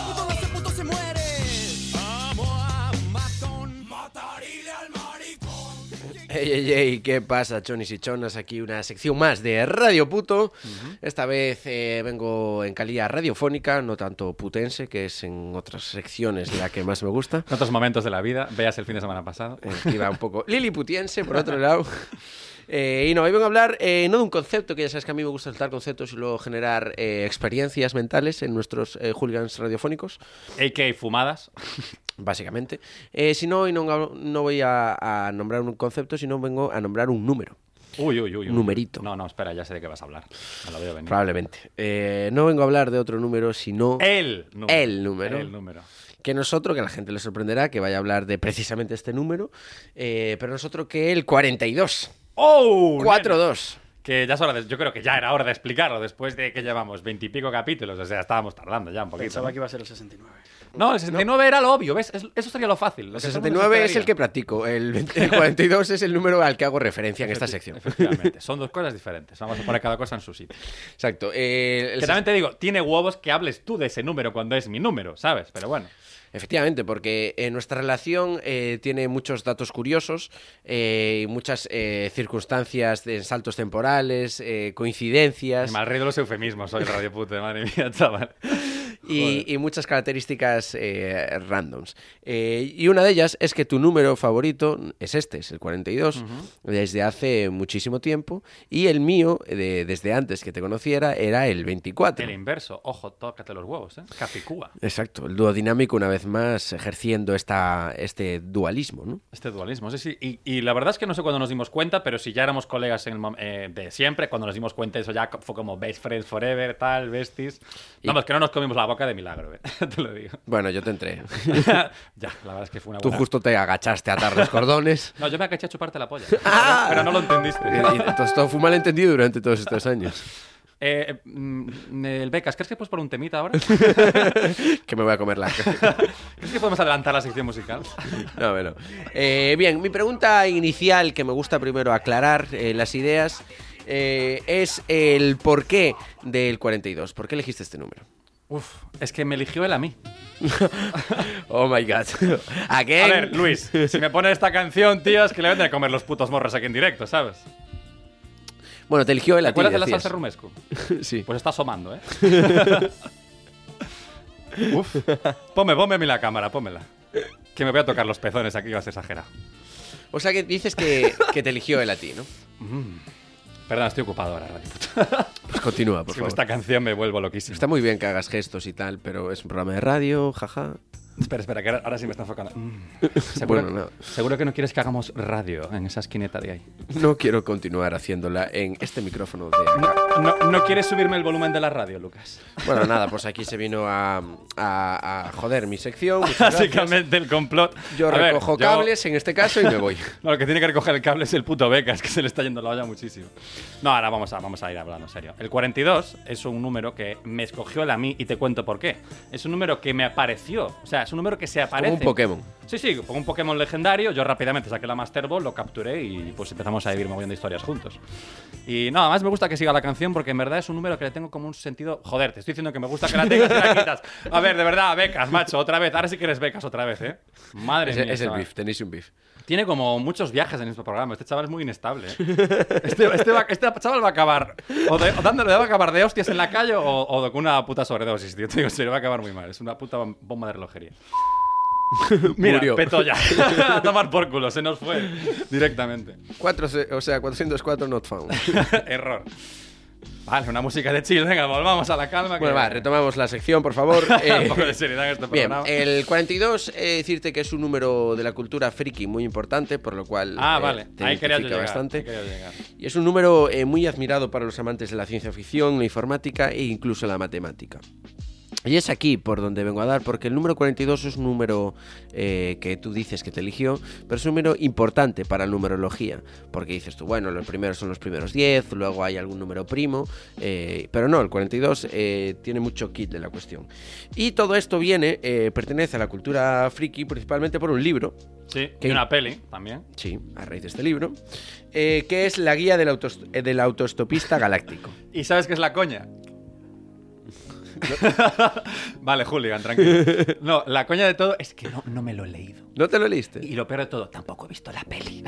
Speaker 4: puto no hace puto se muere. Vamos a matón, matarile al maricón.
Speaker 1: Ey, ey, ey, ¿qué pasa, chonis y chonas? Aquí una sección más de Radio Puto. Esta vez eh, vengo en calidad radiofónica, no tanto putense, que es en otras secciones la que más me gusta.
Speaker 2: En otros momentos de la vida, veas el fin de semana pasado.
Speaker 1: Eh, Iba un poco liliputiense, por otro lado. Eh, y no, hoy vengo a hablar eh, no de un concepto, que ya sabes que a mí me gusta saltar conceptos y luego generar eh, experiencias mentales en nuestros eh, hooligans radiofónicos.
Speaker 2: AK fumadas.
Speaker 1: Básicamente. Eh, si no, hoy no, no voy a, a nombrar un concepto, sino vengo a nombrar un número.
Speaker 2: Uy, uy, uy. uy.
Speaker 1: Numerito.
Speaker 2: No, no, espera, ya sé de qué vas a hablar. Me lo veo venir.
Speaker 1: Probablemente. Eh, no vengo a hablar de otro número, sino
Speaker 2: El número.
Speaker 1: El número.
Speaker 2: El número.
Speaker 1: que nosotros, que a la gente le sorprenderá que vaya a hablar de precisamente este número, eh, pero nosotros que el 42.
Speaker 2: ¡Oh!
Speaker 1: 4-2.
Speaker 2: Que ya es hora de- yo creo que ya era hora de explicarlo después de que llevamos veintipico capítulos, o sea, estábamos tardando ya un poquito.
Speaker 5: Pensaba
Speaker 2: ¿no?
Speaker 5: que iba a ser el 69.
Speaker 2: No, el 69 era lo obvio, ¿ves? Es- eso sería lo fácil. lo
Speaker 1: El
Speaker 2: que todo mundo
Speaker 1: 69 es el que
Speaker 2: esperaría.
Speaker 1: practico, el, 20 el 42 es el número al que hago referencia en esta sección.
Speaker 2: Efectivamente, son dos cosas diferentes. Vamos a poner cada cosa en su sitio.
Speaker 1: Exacto. eh, el
Speaker 2: Que también te digo, tiene huevos que hables tú de ese número cuando es mi número, ¿sabes? Pero bueno.
Speaker 1: Efectivamente, porque eh, nuestra relación eh, tiene muchos datos curiosos eh, y muchas eh, circunstancias de saltos temporales, eh, coincidencias
Speaker 2: Me río de los eufemismos soy el radio puto, madre mía, chaval.
Speaker 1: y, y muchas características eh, randoms. Eh, y una de ellas es que tu número favorito es este, es el 42, desde hace muchísimo tiempo, y el mío, eh, de- desde antes que te conociera, era el 24.
Speaker 2: El inverso, ojo, tócate los huevos, ¿eh? Capicúa.
Speaker 1: Exacto, el duodinámico una vez más ejerciendo esta, este dualismo, ¿no?
Speaker 2: Este dualismo, sí, sí. Y, y la verdad es que no sé cuándo nos dimos cuenta, pero si ya éramos colegas en el mom- eh, de siempre, cuando nos dimos cuenta eso ya co- fue como best friends forever, tal, besties. Vamos, que no nos comimos la boca de milagro, ¿eh? te lo digo.
Speaker 1: Bueno, yo te entré.
Speaker 2: ya, la verdad es que fue una
Speaker 1: Tú
Speaker 2: buena...
Speaker 1: justo te agachaste a atar los cordones.
Speaker 2: No, yo me agaché a chuparte la polla. pero, pero no lo entendiste.
Speaker 1: Y- y entonces todo fue un malentendido durante todos estos años.
Speaker 2: Eh, mm, el Becas, ¿crees que puedes por un temita ahora?
Speaker 1: Que me voy a comer la...
Speaker 2: ¿Crees que podemos adelantar la sección musical?
Speaker 1: No, bueno. Eh, bien, mi pregunta inicial, que me gusta primero aclarar eh, las ideas, eh, es el porqué del 42. ¿Por qué elegiste este número?
Speaker 2: Uf, es que me eligió él a mí.
Speaker 1: Oh my god. Again.
Speaker 2: A ver, Luis, si me pones esta canción, tío, es que le venden a comer los putos morros aquí en directo, ¿sabes?
Speaker 1: Bueno, te eligió el a
Speaker 2: ¿Te
Speaker 1: ti,
Speaker 2: acuerdas de la
Speaker 1: decías.
Speaker 2: salsa rumesco?
Speaker 1: Sí.
Speaker 2: Pues está asomando, ¿eh? Uf. Ponme, ponme a mí la cámara, pónmela. Que me voy a tocar los pezones aquí, vas a exagerar.
Speaker 1: O sea que dices que, que te eligió el a ti, ¿no?
Speaker 2: Perdón, estoy ocupado ahora, radio. puta.
Speaker 1: Pues continúa, por
Speaker 2: Es que con esta canción me vuelvo loquísimo.
Speaker 1: Está muy bien que hagas gestos y tal, pero es un programa de radio, jaja.
Speaker 2: Espera, espera, que ahora, ahora sí me está enfocando. Mm. Seguro,
Speaker 1: Bueno, no.
Speaker 2: seguro que no quieres que hagamos radio en esa esquineta de ahí.
Speaker 1: No quiero continuar haciéndola en este micrófono de acá.
Speaker 2: No, no quieres subirme el volumen de la radio, Lucas.
Speaker 1: Bueno, nada, pues aquí se vino a, a- a joder mi sección. muchas gracias.
Speaker 2: Básicamente el complot.
Speaker 1: Yo
Speaker 2: A ver,
Speaker 1: recojo
Speaker 2: yo-
Speaker 1: cables en este caso y me voy.
Speaker 2: No, lo que tiene que recoger el cable es el puto Becas, que se le está yendo la olla muchísimo. No, ahora vamos a, vamos a ir hablando, en serio. El 42 es un número que me escogió él a mí y te cuento por qué. Es un número que me apareció. O sea, es un número que se aparece.
Speaker 1: un Pokémon.
Speaker 2: Sí, sí, como un Pokémon legendario. Yo rápidamente saqué la Master Ball, lo capturé y pues empezamos a vivir moviendo historias juntos. Y no, además me gusta que siga la canción porque en verdad es un número que le tengo como un sentido. Joder, te estoy diciendo que me gusta que la tengas y la quitas. A ver, de verdad, becas, macho, otra vez. Ahora sí que eres becas otra vez, ¿eh? Madre
Speaker 1: Es,
Speaker 2: mía.
Speaker 1: es el
Speaker 2: chaval.
Speaker 1: beef, tenéis un beef.
Speaker 2: Tiene como muchos viajes en este programa. Este chaval es muy inestable. ¿eh? Este, este va- este chaval va a acabar o, de- o dándole va a acabar de hostias en la calle o, o de- con una puta sobredosis, tío. Te digo, se le va a acabar muy mal. Es una puta bomba de relojería. Mira,
Speaker 1: Murió.
Speaker 2: petó ya. a tomar por culo, se nos fue directamente.
Speaker 1: Cuatro se- o sea, 404 not found.
Speaker 2: Error. Vale, una música de chill. Venga, volvamos a la calma. que-
Speaker 1: Bueno, va, retomamos la sección, por favor. Eh,
Speaker 2: Un poco de seriedad en este
Speaker 1: Bien, eh,
Speaker 2: programa.
Speaker 1: el 42, eh, decirte que es un número de la cultura friki muy importante, por lo cual
Speaker 2: ah,
Speaker 1: eh,
Speaker 2: vale.
Speaker 1: te
Speaker 2: Ahí quería yo
Speaker 1: identifica
Speaker 2: llegar.
Speaker 1: bastante.
Speaker 2: ahí quería yo llegar.
Speaker 1: Y es un número eh, muy admirado para los amantes de la ciencia ficción, la informática e incluso la matemática. Y es aquí por donde vengo a dar, porque el número 42 es un número eh, que tú dices que te eligió, pero es un número importante para la numerología, porque dices tú, bueno, los primeros son los primeros 10, luego hay algún número primo, eh, pero no, el 42 eh, tiene mucho kit de la cuestión. Y todo esto viene, eh, pertenece a la cultura friki, principalmente por un libro,
Speaker 2: Sí,
Speaker 1: ¿Qué?
Speaker 2: y una peli también.
Speaker 1: Sí, a raíz de este libro, eh, que es la guía del, autos- eh, del autoestopista galáctico.
Speaker 2: ¿Y sabes qué es la coña? vale, Julian, tranquilo. No, la coña de todo es que no, no me lo he leído.
Speaker 1: ¿No te lo leíste?
Speaker 2: Y lo peor de todo, tampoco he visto la peli.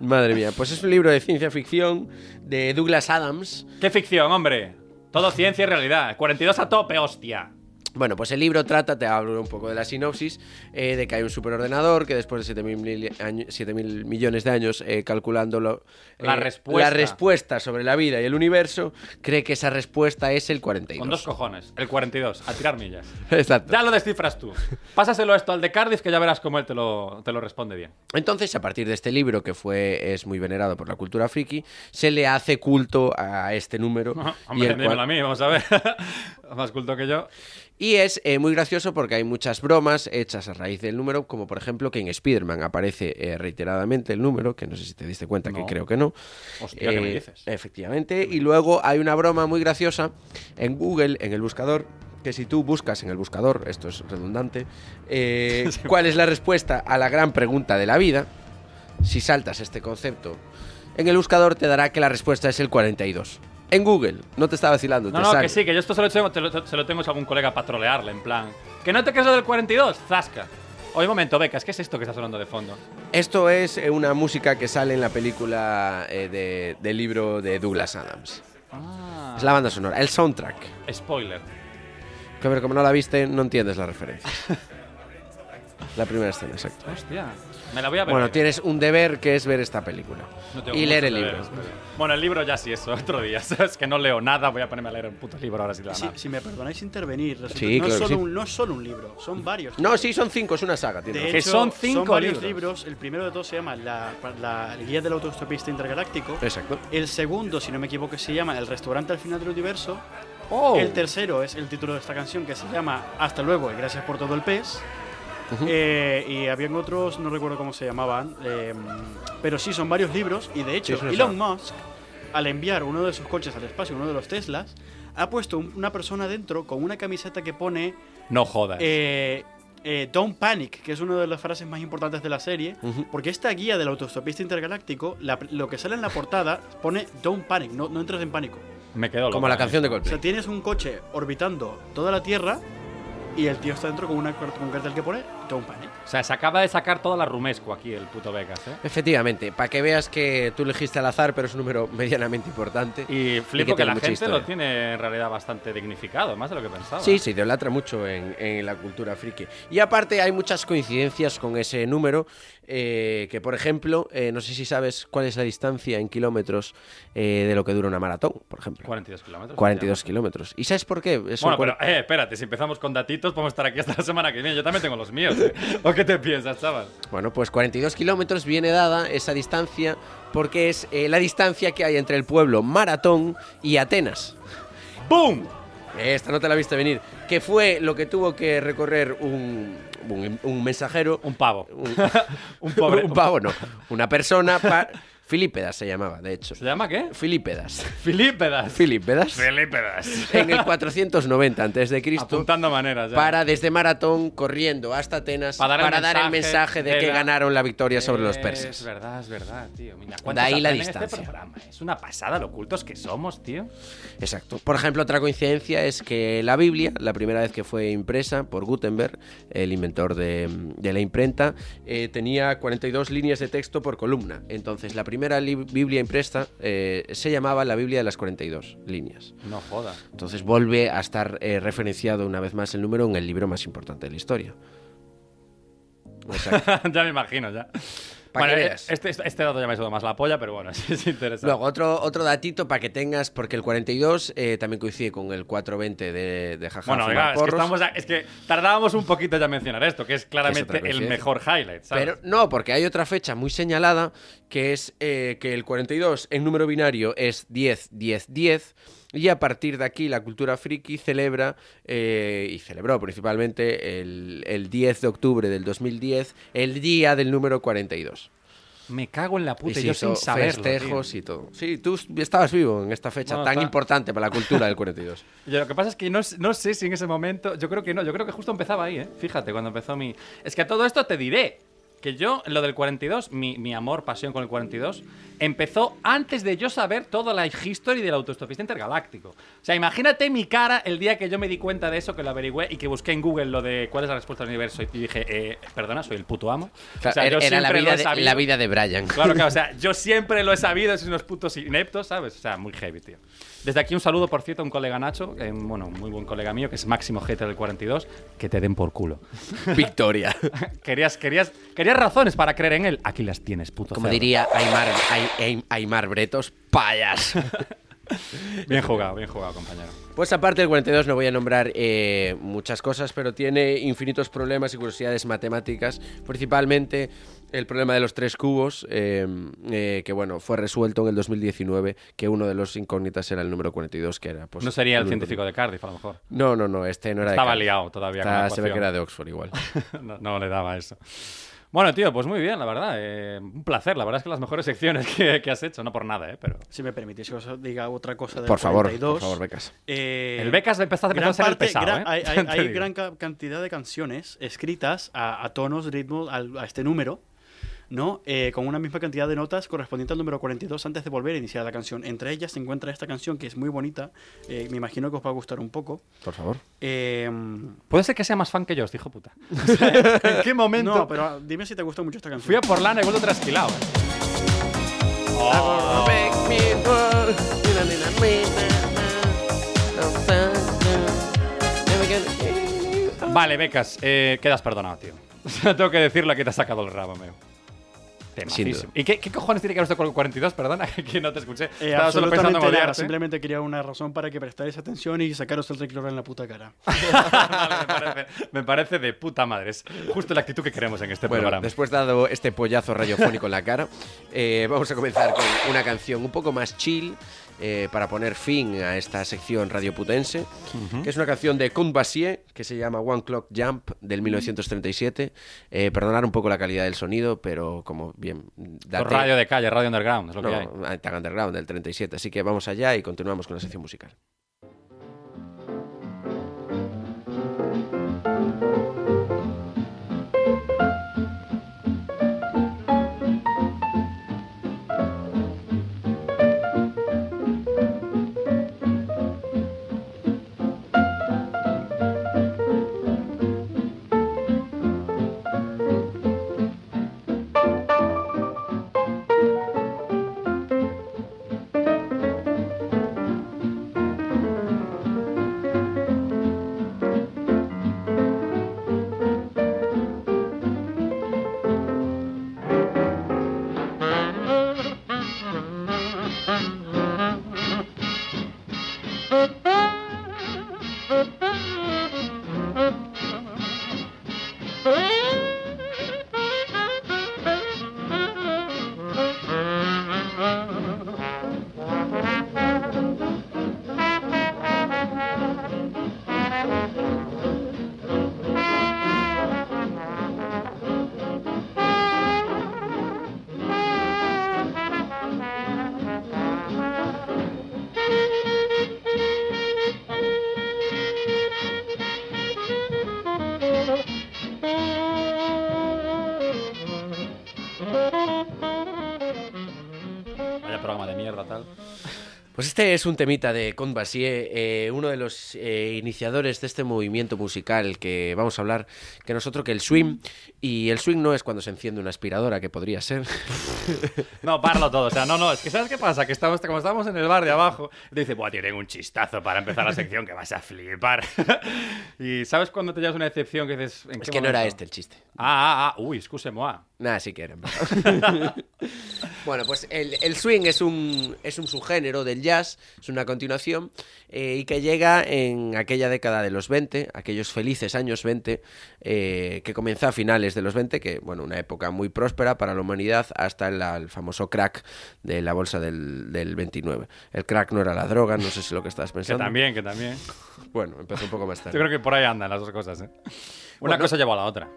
Speaker 1: Madre mía, pues es un libro de ciencia ficción de Douglas Adams.
Speaker 2: ¡Qué ficción, hombre! Todo ciencia y realidad. 42 a tope, hostia.
Speaker 1: Bueno, pues el libro trata, te hablo un poco de la sinopsis, eh, de que hay un superordenador que después de 7.000 mil año- 7.000 millones de años eh, calculando lo-
Speaker 2: La
Speaker 1: eh,
Speaker 2: respuesta.
Speaker 1: la respuesta sobre la vida y el universo, cree que esa respuesta es el 42.
Speaker 2: Con dos cojones. El 42, a tirar millas.
Speaker 1: Exacto.
Speaker 2: Ya lo descifras tú. Pásaselo esto al de Cardiff que ya verás cómo él te lo, te lo responde bien.
Speaker 1: Entonces, a partir de este libro, que fue, es muy venerado por la cultura friki, se le hace culto a este número.
Speaker 2: Hombre,
Speaker 1: el
Speaker 2: dímelo
Speaker 1: cual-
Speaker 2: a mí, vamos a ver. Más culto que yo.
Speaker 1: y es eh, muy gracioso porque hay muchas bromas hechas a raíz del número, como por ejemplo que en Spider-Man aparece eh, reiteradamente el número, que no sé si te diste cuenta, que
Speaker 2: No.
Speaker 1: creo que no.
Speaker 2: Hostia, ¿qué me
Speaker 1: Eh,
Speaker 2: dices?
Speaker 1: Efectivamente. Y luego hay una broma muy graciosa en Google, en el buscador, que si tú buscas en el buscador, esto es redundante, eh, cuál es la respuesta a la gran pregunta de la vida, si saltas este concepto, en el buscador te dará que la respuesta es el 42. En Google, no te estaba vacilando.
Speaker 2: No,
Speaker 1: te
Speaker 2: no,
Speaker 1: sale.
Speaker 2: que sí, que yo esto se lo, tengo, te lo- se lo tengo a algún colega para trolearle, en plan. ¿Que no te crees lo del 42? ¡Zasca! Oye, un momento, Becas, ¿qué es esto que está sonando de fondo?
Speaker 1: Esto es eh, una música que sale en la película eh, de- del libro de Douglas Adams.
Speaker 2: Ah,
Speaker 1: Es la banda sonora, el soundtrack.
Speaker 2: spoiler.
Speaker 1: Que, pero como no la viste, no entiendes la referencia. la primera escena, exacto.
Speaker 2: Hostia, me la voy a ver.
Speaker 1: Bueno, tienes un deber que es ver esta película
Speaker 2: No tengo
Speaker 1: y leer el
Speaker 2: muchos
Speaker 1: libro.
Speaker 2: deberes, pero- Bueno, el libro ya sí, eso, otro día. ¿Sabes? Que no leo nada, voy a ponerme a leer un puto libro ahora sí de la
Speaker 5: Si,
Speaker 2: nada.
Speaker 5: si me perdonáis intervenir, resulta
Speaker 1: Sí,
Speaker 5: que no,
Speaker 1: claro
Speaker 5: es
Speaker 1: que
Speaker 5: solo
Speaker 1: sí.
Speaker 5: un, no es solo un libro, son varios.
Speaker 1: No, sí, son cinco, es una saga. tiene
Speaker 5: De
Speaker 1: razón.
Speaker 2: Que
Speaker 5: hecho,
Speaker 2: son cinco
Speaker 5: varios
Speaker 2: libros.
Speaker 5: libros. El primero de todos se llama la, la- el Guía del Autostopista Intergaláctico.
Speaker 1: Exacto.
Speaker 5: El segundo, si no me equivoco, se llama El Restaurante al Final del Universo.
Speaker 1: Oh.
Speaker 5: El tercero es el título de esta canción que se llama Hasta luego y gracias por todo el pez.
Speaker 1: Ujú.
Speaker 5: Eh, y habían otros, no recuerdo cómo se llamaban, eh, pero sí, son varios libros y de hecho
Speaker 1: Sí, eso es
Speaker 5: Elon Musk, al enviar uno de sus coches al espacio, uno de los Teslas, ha puesto un- una persona dentro con una camiseta que pone
Speaker 2: No
Speaker 1: Ah.
Speaker 2: jodas.
Speaker 5: eh, eh, Don't Panic, que es una de las frases más importantes de la serie,
Speaker 1: Ujú.
Speaker 5: porque esta guía del autostopista intergaláctico, la- lo que sale en la portada pone Don't Panic, no, no entres en pánico.
Speaker 2: Me quedo loco
Speaker 1: Como la
Speaker 2: con
Speaker 1: canción de
Speaker 5: O sea,
Speaker 1: Coldplay.
Speaker 5: tienes un coche orbitando toda la Tierra y el tío está dentro con, una, con un ¿eh? cartel que pone Don't Panic.
Speaker 2: esto. O sea, se acaba de sacar toda la rumesco aquí el puto Vegas, ¿eh?
Speaker 1: Efectivamente, para que veas que tú elegiste al azar, pero es un número medianamente importante.
Speaker 2: Y flipo que
Speaker 1: tiene
Speaker 2: la
Speaker 1: mucha
Speaker 2: gente lo
Speaker 1: historia.
Speaker 2: tiene en realidad bastante dignificado, más de lo que pensaba.
Speaker 1: Sí, se idolatra mucho en, en la cultura friki. Y aparte hay muchas coincidencias con ese número, eh, que por ejemplo, eh, no sé si sabes cuál es la distancia en kilómetros eh, de lo que dura una maratón, por ejemplo.
Speaker 2: 42 kilómetros.
Speaker 1: 42 kilómetros. ¿Y sabes por qué? Son
Speaker 2: Bueno, pero
Speaker 1: cuar-
Speaker 2: eh, espérate, si empezamos con datitos, podemos estar aquí hasta la semana que viene. Yo también tengo los míos. ¿eh? ¿O qué te piensas, chaval?
Speaker 1: Bueno, pues 42 kilómetros viene dada esa distancia porque es eh, la distancia que hay entre el pueblo Maratón y Atenas.
Speaker 2: ¡Bum!
Speaker 1: Esta no te la viste venir. Que fue lo que tuvo que recorrer un, un- un mensajero.
Speaker 2: Un pavo.
Speaker 1: un-
Speaker 2: Un pobre.
Speaker 1: un pavo, no. Una persona. pa- Filípedas se llamaba, de hecho.
Speaker 2: ¿Se llama qué?
Speaker 1: Filípedas.
Speaker 2: Filípedas.
Speaker 1: Filípedas.
Speaker 2: Filípedas.
Speaker 1: En el 490 antes de Cristo.
Speaker 2: Apuntando maneras ya.
Speaker 1: Para desde Maratón corriendo hasta Atenas
Speaker 2: Pa' dar el
Speaker 1: para dar el mensaje
Speaker 2: mensaje
Speaker 1: de
Speaker 2: de
Speaker 1: que
Speaker 2: la-
Speaker 1: ganaron la victoria sobre los
Speaker 2: Es
Speaker 1: persas.
Speaker 2: verdad, es verdad, tío. Mira,
Speaker 1: De ahí
Speaker 2: ¿cuántos
Speaker 1: la
Speaker 2: hacen este
Speaker 1: distancia.
Speaker 2: programa? Es una pasada lo cultos que somos, tío.
Speaker 1: Exacto. Por ejemplo, otra coincidencia es que la Biblia, la primera vez que fue impresa por Gutenberg, el inventor de, de la imprenta, eh, tenía 42 líneas de texto por columna. Entonces, la primera li- Biblia impresa eh, se llamaba la Biblia de las 42 líneas.
Speaker 2: No joda.
Speaker 1: Entonces, vuelve a estar eh, referenciado una vez más el número en el libro más importante de la historia. Exacto.
Speaker 2: ya me imagino, ya.
Speaker 1: Pa' que veas.
Speaker 2: este, este dato ya me suda más la polla, pero bueno, sí es interesante.
Speaker 1: Luego, otro, otro datito para que tengas, porque el 42 eh, también coincide con el 420 de, de Jaja
Speaker 2: bueno,
Speaker 1: Fumar
Speaker 2: venga, es que,
Speaker 1: Porros.
Speaker 2: estamos a- es que tardábamos un poquito ya en mencionar esto, que es claramente el
Speaker 1: coincidencia.
Speaker 2: mejor highlight, ¿sabes?
Speaker 1: ¿eh? Pero no, porque hay otra fecha muy señalada que es eh, que el 42 en número binario es 10, 10, 10. Y a partir de aquí la cultura friki celebra eh, y celebró principalmente el, el 10 de octubre del 2010, el día del número 42.
Speaker 2: me cago en la
Speaker 1: Y
Speaker 2: puta,
Speaker 1: se
Speaker 2: yo
Speaker 1: hizo
Speaker 2: sin saberlo. tío.
Speaker 1: festejos y todo. Sí, tú estabas vivo en esta fecha
Speaker 2: Bueno,
Speaker 1: tan
Speaker 2: está-
Speaker 1: importante para la cultura del 42.
Speaker 2: Y lo que pasa es que no, s- no sé si en ese momento. Yo creo que no, yo creo que justo empezaba ahí, ¿eh? Fíjate, cuando empezó mi. Es que a todo esto te diré que yo, lo del 42, mi, mi amor, pasión con el 42, empezó antes de yo saber toda la history del autostopista intergaláctico. O sea, imagínate mi cara el día que yo me di cuenta de eso, que lo averigüé y que busqué en Google lo de cuál es la respuesta del universo y dije, eh, perdona, soy el puto amo. O sea, yo
Speaker 1: era era la
Speaker 2: siempre lo
Speaker 1: vida,
Speaker 2: he
Speaker 1: de,
Speaker 2: sabido.
Speaker 1: la vida de Brian.
Speaker 2: Claro, claro, o sea, yo siempre lo he sabido, sois unos putos ineptos, ¿sabes? O sea, muy heavy, tío. Desde aquí un saludo, por cierto, a un colega Nacho, eh, bueno, un muy buen colega mío, que es Máximo Geta del 42, que te den por culo.
Speaker 1: Victoria.
Speaker 2: querías, querías, querías razones para creer en él. Aquí las tienes, puto.
Speaker 1: Como
Speaker 2: cerdo.
Speaker 1: diría Aymar, Ay- Ay- Aymar Bretos, payas.
Speaker 2: Bien jugado, bien jugado, compañero.
Speaker 1: Pues aparte del 42 no voy a nombrar eh, muchas cosas, pero tiene infinitos problemas y curiosidades matemáticas, principalmente el problema de los tres cubos, eh, eh, que bueno, fue resuelto en el 2019, que uno de los incógnitas era el número 42, que era... Pues,
Speaker 2: No sería el
Speaker 1: único.
Speaker 2: científico de Cardiff, a lo mejor.
Speaker 1: No, no, no, este no era
Speaker 2: Estaba
Speaker 1: de... Cádiz.
Speaker 2: liado todavía con
Speaker 1: Está-
Speaker 2: la
Speaker 1: Ah, se ve que
Speaker 2: ecuación.
Speaker 1: era de Oxford igual.
Speaker 2: no, no le daba eso. Bueno, tío, pues muy bien, la verdad. eh, un placer. La verdad es que las mejores secciones que, que has hecho, no por nada, ¿eh? Pero...
Speaker 5: Si me permitís que os diga otra cosa del
Speaker 1: Por favor,
Speaker 5: 42.
Speaker 1: por favor, becas.
Speaker 5: Eh,
Speaker 2: El Becas empezó a empezó a
Speaker 5: gran
Speaker 2: ser el
Speaker 5: parte-
Speaker 2: pesado,
Speaker 5: gran-
Speaker 2: ¿eh?
Speaker 5: Hay, hay-
Speaker 2: Ya te
Speaker 5: hay
Speaker 2: digo.
Speaker 5: gran ca- cantidad de canciones escritas a, a tonos, ritmos, al- a, este número, ¿no? Eh, con una misma cantidad de notas correspondiente al número 42 antes de volver a iniciar la canción. Entre ellas se encuentra esta canción que es muy bonita, eh, me imagino que os va a gustar un poco.
Speaker 1: Por favor.
Speaker 5: Eh,
Speaker 2: Puede ser que sea más fan que yo, os dijo puta. O sea, ¿En qué momento?
Speaker 5: no, pero ah, dime si te gusta mucho esta canción.
Speaker 2: Fui a por lana y vuelvo trasquilado. eh. Vale, Becas, eh, quedas perdonado, tío. O sea, tengo que decirlo que te has sacado el rabo, meu.
Speaker 1: Sin
Speaker 2: Temacísimo.
Speaker 1: duda.
Speaker 2: ¿Y qué, qué cojones tiene que ver esto con el 42? Perdona, que no te escuché.
Speaker 5: Eh,
Speaker 2: Estaba solo pensando en
Speaker 5: absolutamente nada,
Speaker 2: odiarte.
Speaker 5: simplemente quería una razón para que prestáis atención y sacaros el tricloro en la puta cara.
Speaker 2: Vale, me, parece, me parece de puta madre. Es justo la actitud que queremos en este
Speaker 1: Bueno,
Speaker 2: programa.
Speaker 1: después de dado este pollazo radiofónico en la cara, eh, vamos a comenzar con una canción un poco más chill, eh, para poner fin a esta sección radioputense, que es una canción de Count Basie que se llama One Clock Jump del
Speaker 2: Mm.
Speaker 1: 1937. Eh, perdonar un poco la calidad del sonido, pero como bien...
Speaker 2: Por
Speaker 1: date-
Speaker 2: radio de calle, radio underground, es lo que hay.
Speaker 1: no, Tag Underground del 37. Así que vamos allá y continuamos con la sección musical.
Speaker 2: Vaya programa de mierda, tal.
Speaker 1: Pues este es un temita de Count Basie, eh, uno de los eh, iniciadores de este movimiento musical que vamos a hablar, que no es otro que el swing. Y el swing no es cuando se enciende una aspiradora, que podría ser.
Speaker 2: No, parlo todo. O sea, no, no, es que ¿sabes qué pasa? Que estamos, como estábamos en el bar de abajo, te dice, buah, tío, tengo un chistazo para empezar la sección que vas a flipar. y ¿sabes cuando te llevas una decepción que dices...
Speaker 1: es
Speaker 2: ¿en qué
Speaker 1: que no era
Speaker 2: momento?
Speaker 1: este el chiste.
Speaker 2: Ah, ah, ah, uy, excuse-moi.
Speaker 1: Nada, sí que era. en verdad. bueno, pues el, el swing es un, es un subgénero del jazz, es una continuación, eh, y que llega en aquella década de los 20, aquellos felices años 20, eh, que comienza a finales de los 20, que, bueno, una época muy próspera para la humanidad hasta el, el famoso crack de la bolsa del, del 29. El crack no era la droga, no sé si lo que estás
Speaker 2: Que
Speaker 1: pensando.
Speaker 2: también, que también.
Speaker 1: Bueno, empezó un poco más
Speaker 2: Yo
Speaker 1: tarde.
Speaker 2: creo que por ahí andan las dos cosas, ¿eh? Una
Speaker 1: Bueno.
Speaker 2: cosa lleva a la otra.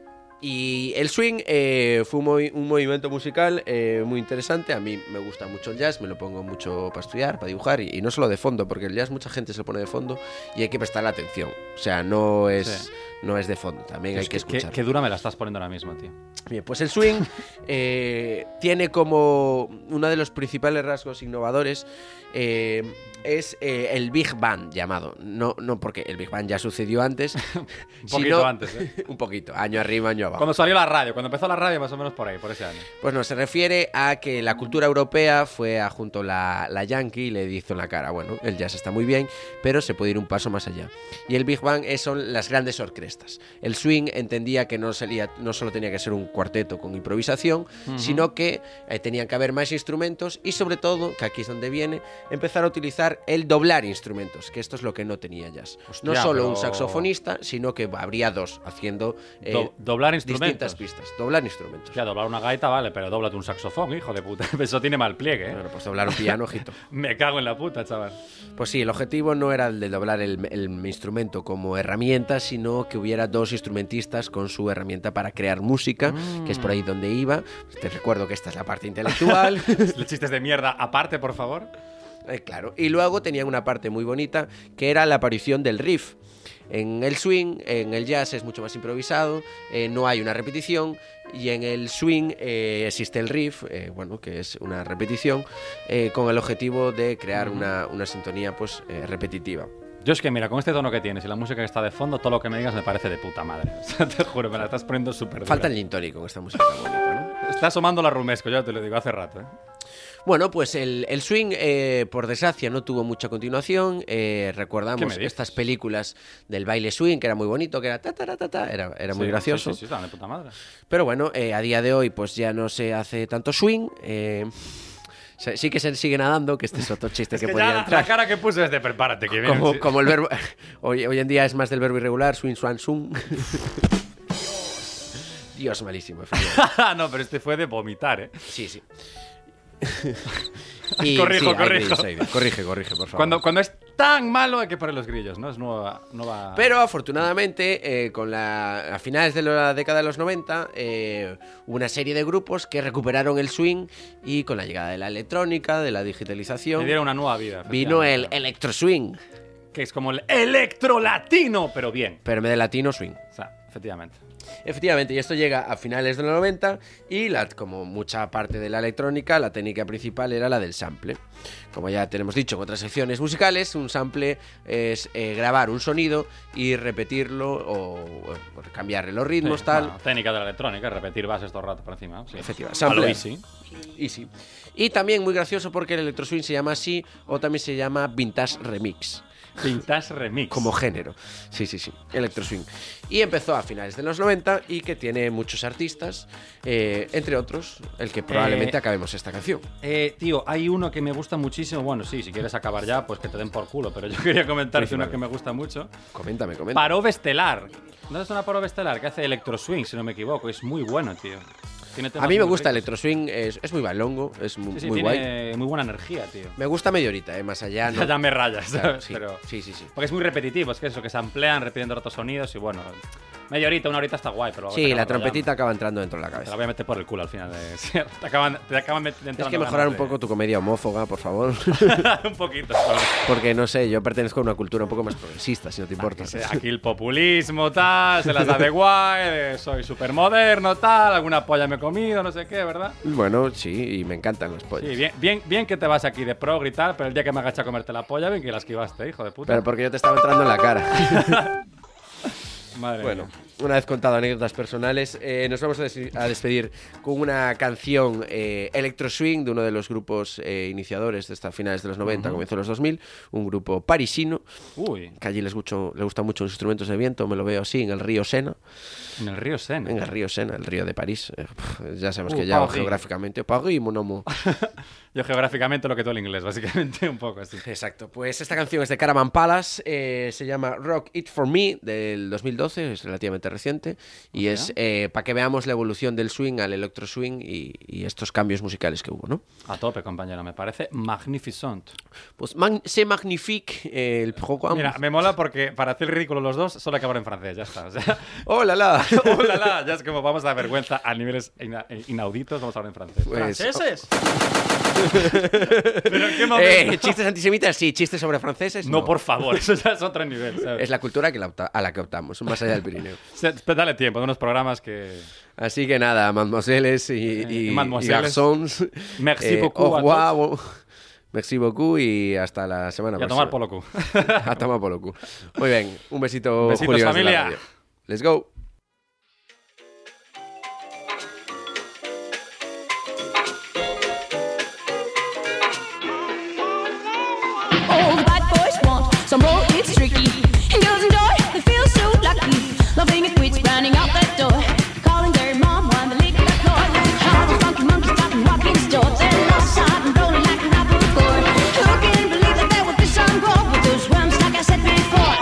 Speaker 1: Y el swing eh, fue un, movi- un movimiento musical eh, muy interesante. A mí me gusta mucho el jazz, me lo pongo mucho para estudiar, para dibujar y, y no solo de fondo, porque el jazz mucha gente se lo pone de fondo y hay que prestarle atención. O sea, no es,
Speaker 2: Sí.
Speaker 1: no es de fondo, también hay que,
Speaker 2: Dios, qué- qué,
Speaker 1: escuchar.
Speaker 2: qué dura me la estás poniendo ahora mismo, tío.
Speaker 1: Bien, pues el swing eh, tiene como uno de los principales rasgos innovadores eh, es eh, el Big Band llamado. No, no porque el Big Band ya sucedió antes.
Speaker 2: Un
Speaker 1: sino-
Speaker 2: poquito antes, ¿eh?
Speaker 1: un poquito, año arriba, año abajo.
Speaker 2: Cuando salió la radio, cuando empezó la radio, más o menos por ahí, por ese año.
Speaker 1: Pues no, se refiere a que la cultura europea fue a junto la, la yankee y le hizo en la cara, bueno, el jazz está muy bien, pero se puede ir un paso más allá. Y el Big Bang es- son las grandes orquestas. El swing entendía que no, salía, no solo tenía que ser un cuarteto con improvisación, sino que eh, tenían que haber más instrumentos y sobre todo, que aquí es donde viene, empezar a utilizar el doblar instrumentos, que esto es lo que no tenía jazz.
Speaker 2: Hostia,
Speaker 1: no solo un
Speaker 2: pero-
Speaker 1: saxofonista, sino que habría dos haciendo eh,
Speaker 2: Do- doblar
Speaker 1: distintas
Speaker 2: instrumentos.
Speaker 1: pistas, doblar instrumentos.
Speaker 2: Ya, doblar una gaita, vale, pero doblate un saxofón, hijo de puta. Eso tiene mal pliegue, ¿eh?
Speaker 1: Bueno, pues doblar un piano, ojito.
Speaker 2: Me cago en la puta, chaval.
Speaker 1: Pues sí, el objetivo no era el de doblar el, el instrumento como herramienta, sino que hubiera dos instrumentistas con su herramienta para crear música, que es por ahí donde iba. Pues Te recuerdo que esta es la parte intelectual.
Speaker 2: Chistes de mierda aparte, por favor.
Speaker 1: Eh, claro. Y luego tenían una parte muy bonita, que era la aparición del riff. En el swing, en el jazz es mucho más improvisado, eh, no hay una repetición, y en el swing eh, existe el riff, eh, bueno, que es una repetición, eh, con el objetivo de crear una, una sintonía pues, eh, repetitiva.
Speaker 2: Yo es que, mira, con este tono que tienes y la música que está de fondo, todo lo que me digas me parece de puta madre. O sea, te juro, me la estás poniendo súper dura.
Speaker 1: Falta el gin tonic con esta música tan bonita, ¿no?
Speaker 2: Está asomando la rumesco, ya te lo digo hace rato, ¿eh?
Speaker 1: Bueno, pues el, el swing, eh, por desgracia, no tuvo mucha continuación. Eh,
Speaker 2: ¿Qué me
Speaker 1: recordamos
Speaker 2: dices?
Speaker 1: estas películas del baile swing, que era muy bonito, que era ta, ta, ra, ta, ta, era, era muy
Speaker 2: Sí,
Speaker 1: gracioso.
Speaker 2: Sí, sí, sí, está de puta madre.
Speaker 1: Pero bueno, eh, a día de hoy, pues ya no se hace tanto swing. eh, se- sí que se sigue nadando, que este es otro chiste
Speaker 2: Es
Speaker 1: que,
Speaker 2: que ya
Speaker 1: podría
Speaker 2: la,
Speaker 1: entrar.
Speaker 2: la cara que puse es de prepárate, que viene.
Speaker 1: Como, como el verbo. Hoy, hoy en día es más del verbo irregular, swing, swan, swing. Dios, malísimo, efectivamente.
Speaker 2: no, pero este fue de vomitar, ¿eh?
Speaker 1: Sí, sí. Y,
Speaker 2: Corrijo,
Speaker 1: hay
Speaker 2: corrijo.
Speaker 1: grillos, hay grillos. corrige, corrige, por favor.
Speaker 2: Cuando, cuando es tan malo hay que poner los grillos, ¿no? Es nueva, nueva...
Speaker 1: Pero afortunadamente, eh, con la, a finales de la década de los 90, eh, hubo una serie de grupos que recuperaron el swing y con la llegada de la electrónica, de la
Speaker 2: Le
Speaker 1: digitalización,
Speaker 2: dieron una nueva vida.
Speaker 1: vino el
Speaker 2: efectivamente.
Speaker 1: electro swing,
Speaker 2: Que es como el electrolatino, pero bien.
Speaker 1: pero en vez de latino swing.
Speaker 2: O sea, efectivamente.
Speaker 1: Efectivamente, y esto llega a finales de los 90 y la, como mucha parte de la electrónica, la técnica principal era la del sample. Como ya tenemos dicho en otras secciones musicales, un sample es eh, grabar un sonido y repetirlo o, o cambiarle los ritmos,
Speaker 2: Sí,
Speaker 1: tal.
Speaker 2: bueno, técnica de la electrónica, repetir bases todo el rato por encima. Sí.
Speaker 1: Efectivamente.
Speaker 2: A lo
Speaker 1: Sampler.
Speaker 2: easy.
Speaker 1: Easy. Y también muy gracioso porque el electro swing se llama así o también se llama vintage remix
Speaker 2: Pintas remix.
Speaker 1: como género. Sí, sí, sí, electro swing. Y empezó a finales de los 90 y que tiene muchos artistas, eh, entre otros el que probablemente
Speaker 2: Eh,
Speaker 1: acabemos esta canción.
Speaker 2: Eh, tío, hay uno que me gusta muchísimo. Bueno, sí, si quieres acabar ya, pues que te den por culo. Pero yo quería comentarte
Speaker 1: Pues vale.
Speaker 2: uno que me gusta mucho.
Speaker 1: Coméntame, coméntame.
Speaker 2: Parov Estelar. ¿No es una Parov Estelar que hace Electro Swing, si no me equivoco? Es muy bueno, tío. Tiene temas
Speaker 1: a mí me
Speaker 2: muy
Speaker 1: gusta
Speaker 2: ricos.
Speaker 1: electro swing, es, es muy bailongo, es mu- muy,
Speaker 2: Sí, sí,
Speaker 1: guay.
Speaker 2: tiene muy buena energía, tío.
Speaker 1: Me gusta medio horita, eh, más allá. No.
Speaker 2: ya me rayas,
Speaker 1: Claro,
Speaker 2: ¿sabes?
Speaker 1: sí,
Speaker 2: Pero-
Speaker 1: sí, sí, sí.
Speaker 2: Porque es muy repetitivo, es que eso, que se amplían repitiendo otros sonidos y bueno. Media horita, una horita está guay, pero.
Speaker 1: Sí, la
Speaker 2: te acabas rayando.
Speaker 1: trompetita acaba entrando dentro de la
Speaker 2: Te la
Speaker 1: cabeza.
Speaker 2: voy a meter por el culo al final. de- te acaban, te acaban met-
Speaker 1: Tienes
Speaker 2: entrando
Speaker 1: que mejorar un
Speaker 2: ganas
Speaker 1: poco tu comedia homófoba, por favor.
Speaker 2: de- un poquito. solo.
Speaker 1: Porque no sé, yo pertenezco a una cultura un poco más progresista, si no te importa.
Speaker 2: Ah, Que sea Aquí el populismo, tal, se las da de guay, de soy supermoderno, tal, alguna polla me he comido, no sé qué, ¿verdad?
Speaker 1: Bueno, sí, y me encantan las pollas.
Speaker 2: Sí, bien, bien, bien que te vas aquí de progre y tal, pero el día que me agacha a comerte la polla, bien que la esquivaste, hijo de puta.
Speaker 1: Pero porque yo te estaba entrando en la cara.
Speaker 2: Madre
Speaker 1: bueno,
Speaker 2: mía.
Speaker 1: una vez contado anécdotas personales, eh, nos vamos a, des- a despedir con una canción eh, Electro Swing de uno de los grupos eh, iniciadores de estas finales de los 90, comienzo de los 2000, un grupo parisino,
Speaker 2: Uy,
Speaker 1: que allí les, gucho- les gustan mucho los instrumentos de viento, me lo veo así, en el río Sena.
Speaker 2: en el río Sena.
Speaker 1: En el río Sena, el río de París. eh, pf, ya sabemos
Speaker 2: Uh,
Speaker 1: que ya
Speaker 2: París.
Speaker 1: geográficamente, París, mon amour.
Speaker 2: Yo geográficamente lo que tú el inglés, básicamente, un poco así.
Speaker 1: Exacto, pues esta canción es de Caravan Palace, eh, se llama Rock It For Me del 2012, es relativamente reciente, y es para que veamos la evolución del swing al electro swing y, y estos cambios musicales que hubo, ¿no?
Speaker 2: A tope, compañero, me parece magnificent.
Speaker 1: Pues mag- se magnifique eh, el programa.
Speaker 2: Mira, me mola porque para hacer ridículo los dos, solo acabar en francés, ya está. O sea,
Speaker 1: ¡Oh, la, la!
Speaker 2: Uh, la, la, ya es como vamos a vergüenza a niveles ina- eh, inauditos, vamos a hablar en francés.
Speaker 1: Pues-
Speaker 5: ¡Franceses!
Speaker 2: Pero en qué momento.
Speaker 1: Eh, chistes antisemitas, sí, chistes sobre franceses.
Speaker 2: no, por favor, eso ya es otro nivel. ¿sabes?
Speaker 1: Es la cultura que la opta- a la que optamos, más allá del Pirineo.
Speaker 2: Se- pero dale tiempo, de unos programas que.
Speaker 1: Así que nada, mademoiselles y,
Speaker 2: Eh,
Speaker 1: y, y
Speaker 2: mademoiselles.
Speaker 1: garçons.
Speaker 2: Merci
Speaker 1: eh,
Speaker 2: beaucoup
Speaker 1: au
Speaker 2: a
Speaker 1: revoir, bon- Merci beaucoup y hasta la semana
Speaker 2: Y a
Speaker 1: próxima.
Speaker 2: tomar polocu.
Speaker 1: a tomar por lo cu. Muy bien, un besito,
Speaker 2: Besitos,
Speaker 1: Julio, desde la
Speaker 2: familia.
Speaker 1: radio. Let's go.
Speaker 6: All the bad boys want some more, it's tricky. And girls enjoy, they feel so lucky. Loving it, quits running out that door. Calling their mom when they lick the floor. All the funky monkeys out and walking store. They're lost sight and rolling like an apple core. Who can believe that there would be some gold with those worms, like I said before?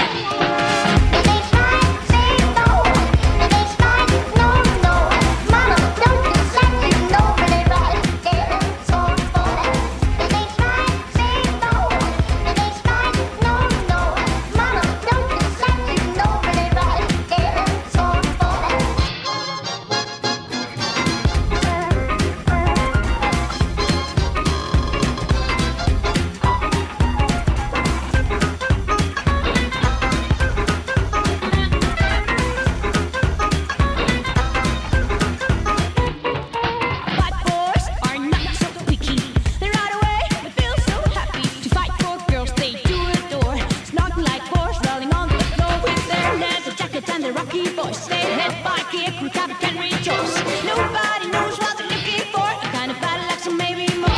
Speaker 6: Bad boys are not so picky. They ride away, they feel so happy. To fight for girls, they do adore. Snorting like boars, rolling on the floor with their leather jackets and their rocky voice. They head by kick, recover, can rejoice. Nobody knows what they're looking for. Kind of battle like some maybe more.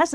Speaker 7: Has